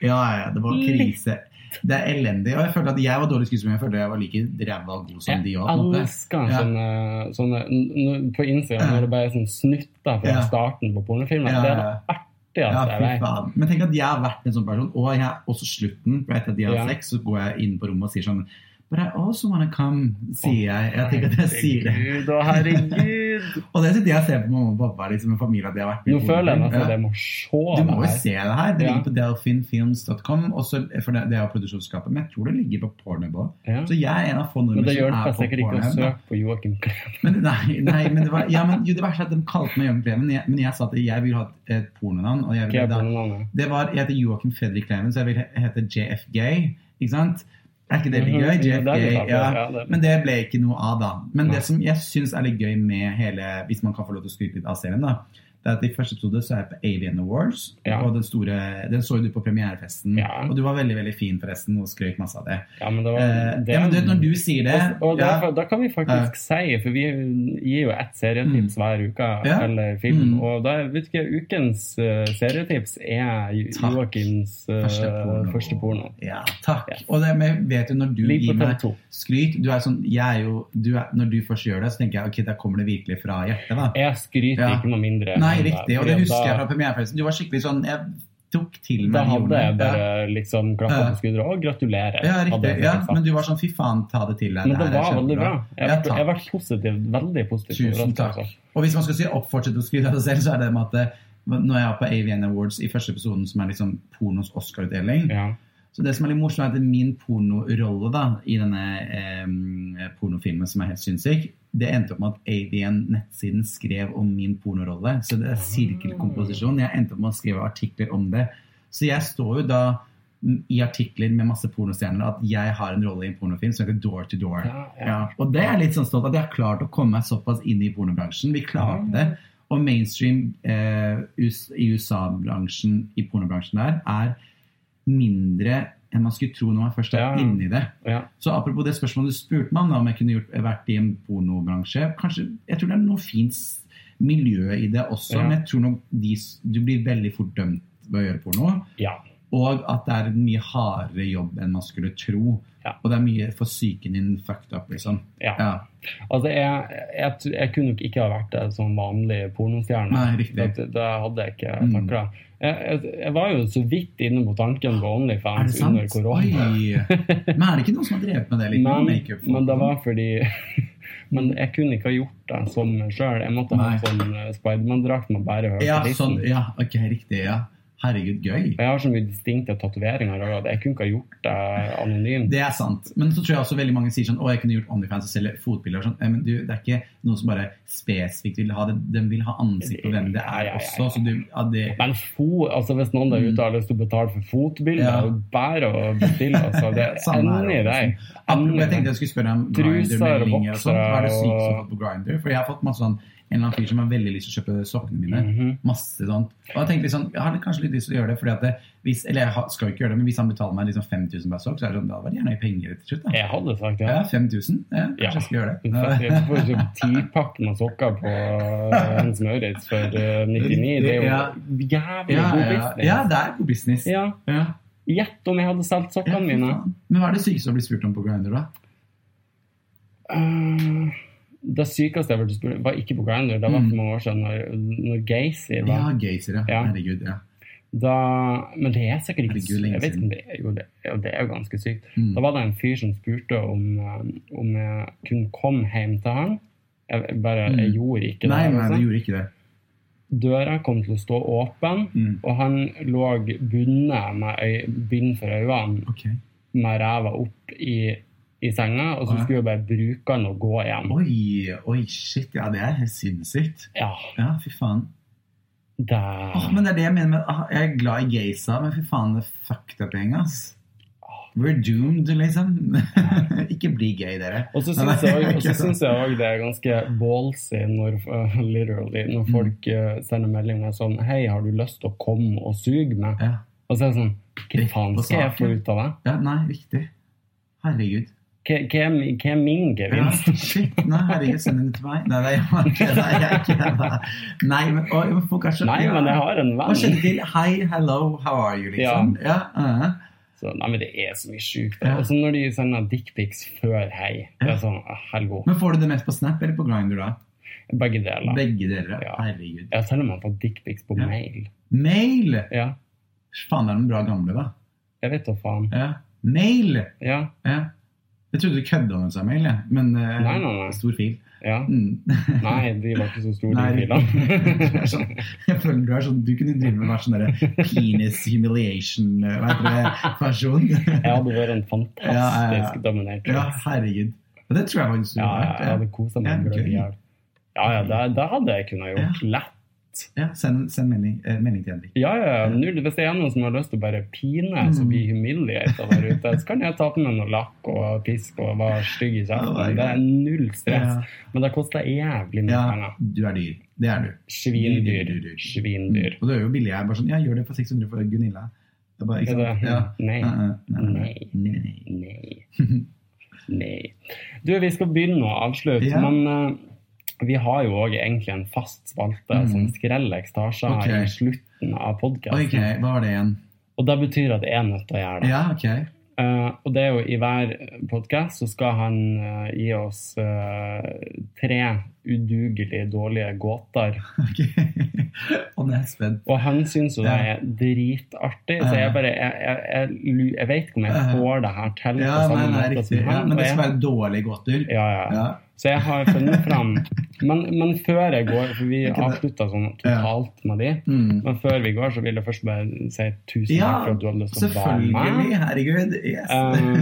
A: ja, ja, det var krise. Det er elendig. Og jeg følte at jeg var dårlig skuespiller, men jeg følte jeg var like ræva god <laughs> som de
B: Jeg
A: òg.
B: elsker sånn,
A: Ja.
B: sånne, sånne eh, n- n- På Instagram når det bare er sånn snutter fra
A: Ja.
B: starten på pornofilmer.
A: Ja,
B: Det er
A: ja.
B: det
A: Ja,
B: artigste jeg
A: fy
B: vet.
A: faen. Men tenk at jeg har vært en sånn person, og jeg også slutten, for etter at de har
B: Ja.
A: sex, så går jeg inn på rommet og sier sånn But I also wanna come, sier jeg. Jeg tenker at jeg sier det.
B: Herregud og herregud!
A: <laughs> Og det sitter jeg og ser på mamma og pappa, liksom en familie at de har vært
B: Nå føler jeg nesten at
A: Ja.
B: jeg må se
A: Du
B: det
A: må jo
B: her.
A: se det her. Det
B: Ja.
A: ligger på delphinfilms.com, og så- for det, det er jo produksjonsskapet, men jeg tror det ligger på Pornhub òg.
B: Ja.
A: Så jeg er en av få
B: Men
A: nordmenn
B: det
A: som
B: hjelper
A: er på
B: sikkert ikke å
A: Pornhub. da.
B: søke på Joakim Klepp.
A: Men, nei, nei, men det var ja, men, jo, det verste er at de kalte meg Jørgen Kleven, men jeg- men jeg sa at jeg vil ha et, et pornonavn. Og jeg
B: Hva
A: vil
B: er
A: da,
B: pornonavnet?
A: Det var, jeg heter Joakim Fredrik Kleven, så jeg vil he- hete JF Gay. Ikke sant? Er ikke det litt gøy? JF
B: Mhm, <laughs> det er litt
A: Gay,
B: artig,
A: ja.
B: ja, det-
A: Men det ble ikke noe av, da. Men
B: Nei.
A: det som jeg syns er litt gøy med hele Hvis man kan få lov til å skryte litt av serien, da. det er at I første episode så er jeg på Alien Awards.
B: Ja.
A: Og den store, den så jo du på premierefesten.
B: Ja.
A: Og du var veldig veldig fin, forresten, og skrøt masse av det.
B: Ja, men det var,
A: Eh, ja, men du vet, når du sier det
B: Og, og
A: ja,
B: derfor, Da kan vi faktisk si, for vi gir jo ett serietips hver uke
A: Mm. Ja.
B: eller film,
A: Mm.
B: og da vet du ikke, ukens eh, serietips er Jo-
A: Takk.
B: Joakims eh,
A: Første porno.
B: første porno.
A: ja, takk.
B: Ja.
A: Og det, men vet du, når du
B: Ligg
A: gir
B: på
A: meg
B: topp to.
A: skryt du er sånn, jeg er jo, du er, Når du først gjør det, så tenker jeg ok, da kommer det virkelig fra hjertet. da.
B: Jeg skryter
A: Ja.
B: ikke noe mindre.
A: Nei,
B: enn deg,
A: riktig. Og
B: fordi
A: det husker
B: da-
A: jeg fra premierefesten. Du var skikkelig sånn Jeg tok til meg
B: Da
A: de
B: hadde jeg
A: ordene.
B: bare liksom klappa
A: Ja.
B: på skuldra og
A: Ja,
B: gratulerer.
A: ja,
B: hadde
A: riktig.
B: jeg
A: Ja,
B: faktisk sagt.
A: men du var sånn fy faen, ta det til deg.
B: men det
A: her er
B: var veldig
A: kjempebra.
B: bra. Jeg,
A: Ja, takk.
B: jeg var positiv, veldig positiv.
A: Tusen
B: overrasket,
A: takk.
B: altså.
A: Og hvis man skal si opp, fortsette å skryte av seg selv, så er det med at eh, når jeg er på AVN Awards i første episoden, som er liksom pornos Oscar-utdeling
B: Ja.
A: Så det som er litt morsomt, er at min pornorolle da, i denne eh, pornofilmen, som er helt sinnssyk, det endte opp med at AVN-nettsiden skrev om min pornorolle. Så det er sirkelkomposisjon. Jeg endte opp med å skrive artikler om det. Så jeg står jo da mm, i artikler med masse pornostjerner at jeg har en rolle i en pornofilm som heter Door to Door.
B: Ja, ja.
A: Ja, og det er jeg litt sånn stolt at jeg har klart å komme meg såpass inn i pornobransjen. Vi klarte det.
B: Mhm.
A: Og mainstream eh, US- i USA-bransjen, i pornobransjen der, er mindre enn man skulle tro når man først er
B: Ja.
A: inni det.
B: Ja.
A: Så apropos det spørsmålet du spurte meg om, da, om jeg kunne gjort, vært i en pornobransje kanskje, Jeg tror det er noe fint s- miljø i det også,
B: Ja.
A: men jeg tror nok de, s- du blir veldig fort dømt ved å gjøre porno.
B: ja.
A: Og at det er en mye hardere jobb enn man skulle tro.
B: Ja.
A: Og det er mye for psyken din fucked up, liksom.
B: Ja.
A: Ja.
B: Altså, jeg, jeg, tr- jeg kunne nok ikke ha vært en sånn vanlig pornostjerne.
A: Nei, riktig.
B: Det, det hadde jeg ikke
A: Mm.
B: takla. Jeg, jeg, jeg var jo så vidt inne på tanken på
A: Er det
B: OnlyFans
A: sant?
B: under
A: Oi!
B: korona.
A: Men er det ikke noen som har drevet med det litt?
B: Men,
A: Makeup og
B: men det
A: sånn?
B: var fordi <laughs> Men jeg kunne ikke ha gjort det som meg sjøl. Jeg måtte ha
A: Nei.
B: sånn eh, Spiderman-drakt med bare hørte
A: ja, sånn, ja, ok, riktig. Ja. Herregud, gøy.
B: Jeg har så mye distinkte tatoveringer at jeg kunne ikke ha gjort det anonymt.
A: Det er sant. Men så tror jeg også veldig mange sier sånn Å, jeg kunne gjort OnlyFans og selge fotbilder og sånn. Nei, Men du, det er ikke noen som bare spesifikt vil ha det. De vil ha ansikt på hvem det
B: Ja, ja,
A: er
B: ja,
A: også. Så du, ja, det,
B: Men fo, altså hvis noen der ute har lyst til å betale for
A: Mm.
B: fotbilder,
A: Ja.
B: er det bare å bestille. Altså, det er
A: <laughs> Samme her, altså.
B: enig i deg.
A: Apropos, jeg tenkte jeg skulle spørre om
B: Truser og
A: Grindr-meldinger og sånt. Hva er det
B: boksere
A: sykt som har
B: og-
A: fått på Grindr? For jeg har fått masse sånn en eller annen fyr som har veldig lyst til å kjøpe sokkene mine.
B: Mhm.
A: Masse sånt. Og jeg tenkte litt sånn, jeg hadde kanskje litt lyst til å gjøre det, fordi at det, hvis, eller jeg har- skal jo ikke gjøre det, men hvis han betaler meg liksom 5000 per sokk, så er det sånn, da var det gjerne penger til slutt. da.
B: Jeg hadde sagt det.
A: Ja, 5000? Ja, kanskje
B: <laughs> Ja.
A: jeg skal gjøre det.
B: Du får jo kjøpt tipakk med sokker på eh, Hans Maurits for eh, 99. Det er jo
A: Ja.
B: jævlig
A: Ja,
B: god
A: ja,
B: business.
A: ja, det er god business.
B: Ja.
A: Ja.
B: Gjett om jeg hadde solgt
A: Ja,
B: sokkene
A: fy
B: mine.
A: faen. Men hva er det sykeste å bli spurt om på Grindr, da?
B: Eh, Det sykeste jeg ble spurt var ikke på Grindr, det var
A: Mm.
B: for mange år siden, når, når Geysir var
A: Ja, Gazer, ja.
B: Ja.
A: Herregud, ja.
B: da, Men det er sikkert ikke
A: Herregud, lenge
B: Jeg vet ikke
A: siden.
B: om det er jo det. Jo, det er jo ganske sykt.
A: Mm.
B: Da var det en fyr som spurte om, eh, om jeg kunne komme hjem til han. Jeg, bare, jeg
A: Mm.
B: gjorde ikke
A: Nei,
B: det.
A: nei,
B: altså.
A: du gjorde ikke det.
B: Døra kom til å stå åpen,
A: Mm.
B: og han lå bundet med øy, bind for øynene
A: Ok.
B: med ræva opp i, i senga, og så
A: Ja.
B: skulle jeg bare bruke han og gå igjen.
A: Oi, oi, shit. Ja, det er helt sinnssykt.
B: Ja,
A: Ja, fy faen.
B: det
A: Åh, men det er det jeg mener med ah, Jeg er glad i gaysa, men fy faen, det er fucked up gjeng, ass. We're doomed, liksom. <laughs> Ikke bli gay, dere.
B: Og så
A: Nei, nei,
B: syns jeg også- og så
A: ikke sant.
B: syns jeg òg det er ganske ballsy når, <laughs> eh, literally,
A: Mm.
B: når folk eh, sender meldinger sånn Hei, har du lyst til å komme og suge meg?
A: Ja,
B: Og så er det sånn Hva
A: Rett
B: faen
A: på
B: skal jeg få
A: saken.
B: ut av det?
A: ja nei, riktig. Herregud.
B: Hva, hva, er, mi- hva er min
A: Ja,
B: gevinst?
A: shit. Nei, herregud, send den til meg. Nei, nei, jeg var ikke- nei, jeg er ikke det. Nei, men oi, men folk er så
B: <laughs> Nei, men jeg har en
A: Hva skjedde
B: venn.
A: til Hei, hello, how are you, liksom? Ja. uh-huh.
B: Så, nei, men det er så mye sjukt.
A: Ja.
B: Og så når de sender dickpics før hei, det er sånn ah, Helgo.
A: Men får du det mest på Snap eller på Grindr, da?
B: Begge deler.
A: Begge deler.
B: Ja.
A: Herregud.
B: Jeg har til og med fått dickpics på
A: Ja.
B: mail.
A: Mail!
B: Ja,
A: Faen, det er den bra gamle, da.
B: jeg vet da faen.
A: Ja. Mail!
B: Ja,
A: Ja. Jeg trodde du kødda med seg, mail, jeg. men eh,
B: Nei, nei, nei.
A: stor fil.
B: ja.
A: Mm.
B: Nei, de var ikke så
A: <laughs>
B: store,
A: Nei.
B: de filene.
A: Du er <laughs> sånn, jeg føler du er sånn Du kunne drive med hver sånn derre penis eh,
B: <laughs>
A: humiliation-versjon.
B: Jeg hadde vært en fantastisk
A: Ja, ja, ja.
B: dominert
A: <laughs> Ja, herregud. Ja, det tror jeg faktisk du
B: Ja,
A: har
B: jeg
A: vært.
B: hadde koset meg
A: Ja,
B: gløgg i
A: gøy.
B: hjel. Ja, ja, det, det hadde jeg kunnet gjort lett. fint.
A: Ja, send, send melding, eh, melding til Henrik.
B: Ja, ja, ja. Null. Hvis det er noen som har lyst til å bare pine så blir humiliata der ute, så kan jeg ta på meg noe lakk og pisk og være stygg i kjeften. Det er null stress. Men det koster jævlig mye
A: Ja,
B: penger.
A: du er dyr. Det er du.
B: Svindyr. Svindyr.
A: Og du er jo billig her. Bare sånn, ja, gjør det for 600 for Gunilla. Det er bare, ikke
B: Er det-
A: sant? Ja.
B: Nei.
A: Nei, nei, nei,
B: Nei.
A: nei, nei.
B: Nei. Nei. Du, vi skal begynne å avslutte,
A: Ja.
B: men eh, vi har jo òg egentlig en fast spalte
A: Mm.
B: som Skrellex tar seg av
A: Ok.
B: i slutten av podkasten.
A: Ok, hva var det igjen?
B: Og det betyr at jeg er nødt til å gjøre det.
A: Ja, ok. <laughs>
B: Eh, og det er jo i hver podkast så skal han eh, gi oss eh, tre udugelig dårlige gåter.
A: Ok. Og nå er jeg spent.
B: Og han syns jo det
A: Ja.
B: er dritartig, så jeg bare Jeg, jeg, jeg, lu- jeg vet ikke om jeg
A: Ja.
B: får det her til
A: Ja,
B: på
A: nei,
B: samme
A: nei,
B: måte
A: riktig.
B: som
A: Ja,
B: han.
A: men
B: og
A: det
B: jeg-
A: skal være dårlige gåter.
B: ja, ja.
A: Ja.
B: Så jeg har funnet fram men, men før jeg går, for vi avslutta sånn totalt med de
A: Mm.
B: Men før vi går, så vil jeg først bare si tusen
A: Ja,
B: takk for at du hadde lyst til å være med.
A: Selvfølgelig. Herregud. Yes.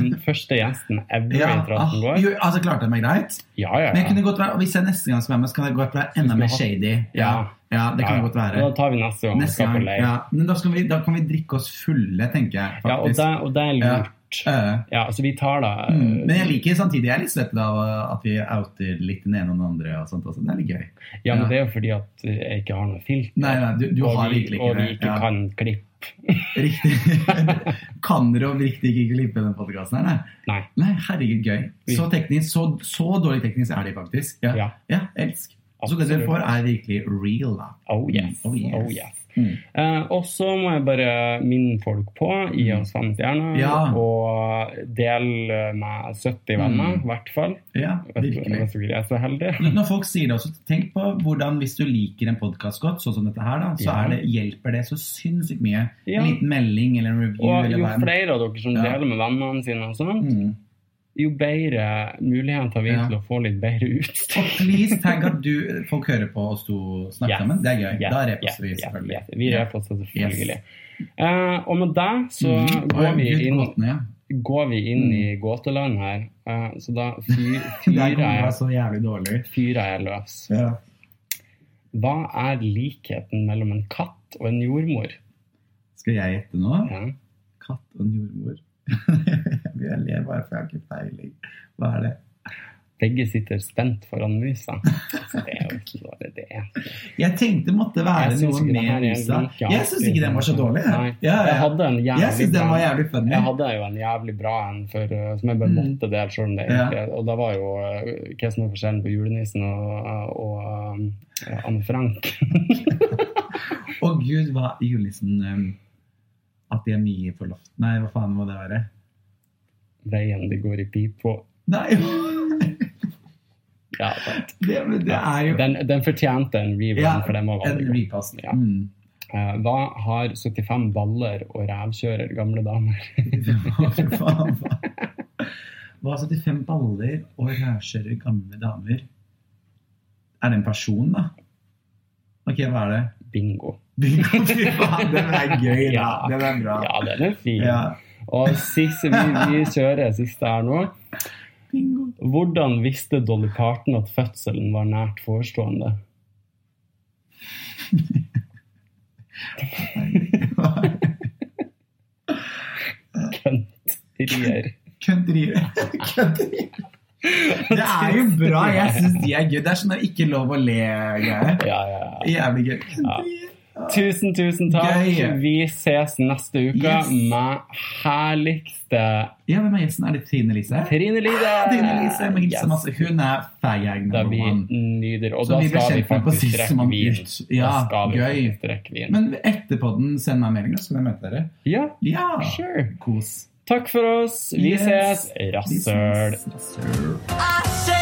B: Um, første gjesten ever
A: ja.
B: i
A: ah,
B: Traten går.
A: jo, altså, klarte jeg meg greit?
B: Ja, ja,
A: Men jeg
B: ja.
A: kunne godt være, og hvis jeg neste gang skal være med, så kan jeg godt være enda
B: skal
A: mer
B: ha-
A: shady. Ja,
B: Ja.
A: ja det kan
B: Ja, ja.
A: godt være.
B: Da tar vi neste gang.
A: Neste
B: Skal på
A: gang.
B: leir.
A: Ja. Men da, skal vi, da kan vi drikke oss fulle, tenker jeg.
B: Ja, og
A: faktisk.
B: det, og det er lurt.
A: Eh,
B: Ja, så vi tar da eh,
A: mm. Men jeg liker samtidig jeg er litt svett av eh, at vi outer litt den ene og den andre. og sånt også. Det er litt gøy.
B: Ja, men
A: ja.
B: det er jo fordi at jeg ikke har noe filter.
A: Nei, nei, du, du
B: og
A: har
B: vi,
A: virkelig
B: og vi
A: ikke
B: ikke
A: det.
B: kan klippe.
A: Ja, riktig. <laughs> kan dere om riktig ikke klippe den podkasten her? Nei?
B: Nei.
A: nei, herregud, gøy.
B: Vi-
A: Så teknisk, så, så dårlig teknisk er de faktisk. Ja,
B: Ja.
A: ja elsk. Så det
B: absolutt.
A: dere får, er virkelig real, da.
B: Oh yes.
A: Mm,
B: Oh
A: oh
B: yes.
A: yes. Mm.
B: Eh, og så må jeg bare minne folk på gi oss fem
A: Mm.
B: stjerner,
A: Ja.
B: og del med 70 venner, i
A: Mm.
B: hvert fall.
A: Ja,
B: Vet du-
A: virkelig.
B: Hvis dere er så heldige.
A: Når folk sier det også, tenk på hvordan hvis du liker en podkast godt, sånn som dette her, da, så
B: Ja.
A: er det, hjelper det så sinnssykt mye.
B: Ja.
A: En liten melding eller en review
B: Og
A: eller
B: jo
A: hva enn.
B: flere av dere som
A: Ja.
B: deler med vennene sine, og sånn,
A: Mm.
B: jo bedre mulighet har vi
A: Ja.
B: til å få litt bedre utstyr.
A: Og please tagg at du, folk hører på oss to snakke
B: Yes.
A: sammen. Det er gøy.
B: Yes,
A: da reposter vi
B: yes, yes,
A: selvfølgelig.
B: yes. Vi
A: Ja.
B: reposter selvfølgelig. Eh, og med det så
A: Mm.
B: går,
A: Oi,
B: vi
A: Gud,
B: inn,
A: gåtene, ja.
B: går vi inn i gåteland her. Eh, så da fyr-
A: Der
B: fyrer
A: kommer <laughs> det altså.
B: jeg,
A: så jævlig dårlig.
B: fyrer jeg løs.
A: Ja.
B: Hva er likheten mellom en katt og en jordmor?
A: Skal jeg gjette nå?
B: Ja.
A: Katt og en jordmor. <laughs> jeg ler bare for jeg har ikke peiling. Hva er det?
B: Begge sitter spent foran musa. Så det er jo ikke bare det. er.
A: Jeg tenkte det måtte være
B: Jeg syns
A: noe
B: ikke det her
A: med
B: er
A: Lisa.
B: like
A: Jeg syns ikke den var så dårlig.
B: Nei,
A: jeg. Ja,
B: Jeg
A: ja.
B: hadde en
A: Jeg
B: jævlig
A: syns den
B: bra
A: var jævlig funny.
B: jeg hadde jo en jævlig bra en for, eh, som jeg bare
A: Mm.
B: måtte dele, selv om det
A: Ja.
B: egentlig Og da var jo eh, hva som er forskjellen på julenissen og, og eh, Anne Frank.
A: Å gud, hva julenissen um, At de er mye på loft Nei, hva faen må det være?
B: Veien det går i pipa.
A: Nei! <laughs>
B: Ja, sant.
A: Det, men det er jo
B: den, den fortjente en rerun,
A: Ja,
B: for den var
A: en
B: veldig god.
A: repass.
B: Ja.
A: Mm.
B: Eh, Hva har 75 baller og rævkjører gamle damer?
A: Det var for faen hva? Hva 75 baller og rævkjører gamle damer? Er det en person, da? Ok, hva er det?
B: Bingo.
A: Bingo, fy faen, den er gøy, da.
B: Ja.
A: Den er bra.
B: Ja, den er fin.
A: Ja.
B: Og siste, vi, vi kjører siste her nå.
A: Bingo.
B: Hvordan visste Dolly Parton at fødselen var nært forestående? Kønt. Rier.
A: Kødderier. Kødderier. Det er jo bra. Jeg syns de er gøy. Det er sånn at ikke lov å le-greier.
B: Ja, ja, ja.
A: Jævlig gøy. Kødderier.
B: Tusen, tusen takk.
A: Gøy.
B: Vi ses neste uke
A: Yes.
B: med herligste
A: Ja, hvem er gjesten? Er det Trine Lise?
B: Trine Lide.
A: Ah, Trine Lise må hilse masse. Hun er feig
B: Da
A: number
B: vi
A: one.
B: nyter. Og
A: Så
B: da
A: vi ble
B: skal vi
A: kjent med på
B: faktisk
A: sist som
B: drikke
A: han
B: vin.
A: ut.
B: Da
A: Ja,
B: skal vi
A: gøy.
B: faktisk drikke vin.
A: Men etter podden, send meg melding, da, så kan jeg møte dere.
B: Ja,
A: Ja!
B: sure.
A: Kos.
B: Takk for oss. Vi
A: Yes.
B: ses.
A: Vi
B: Rasshøl.
A: ses. Rasshøl.
C: I said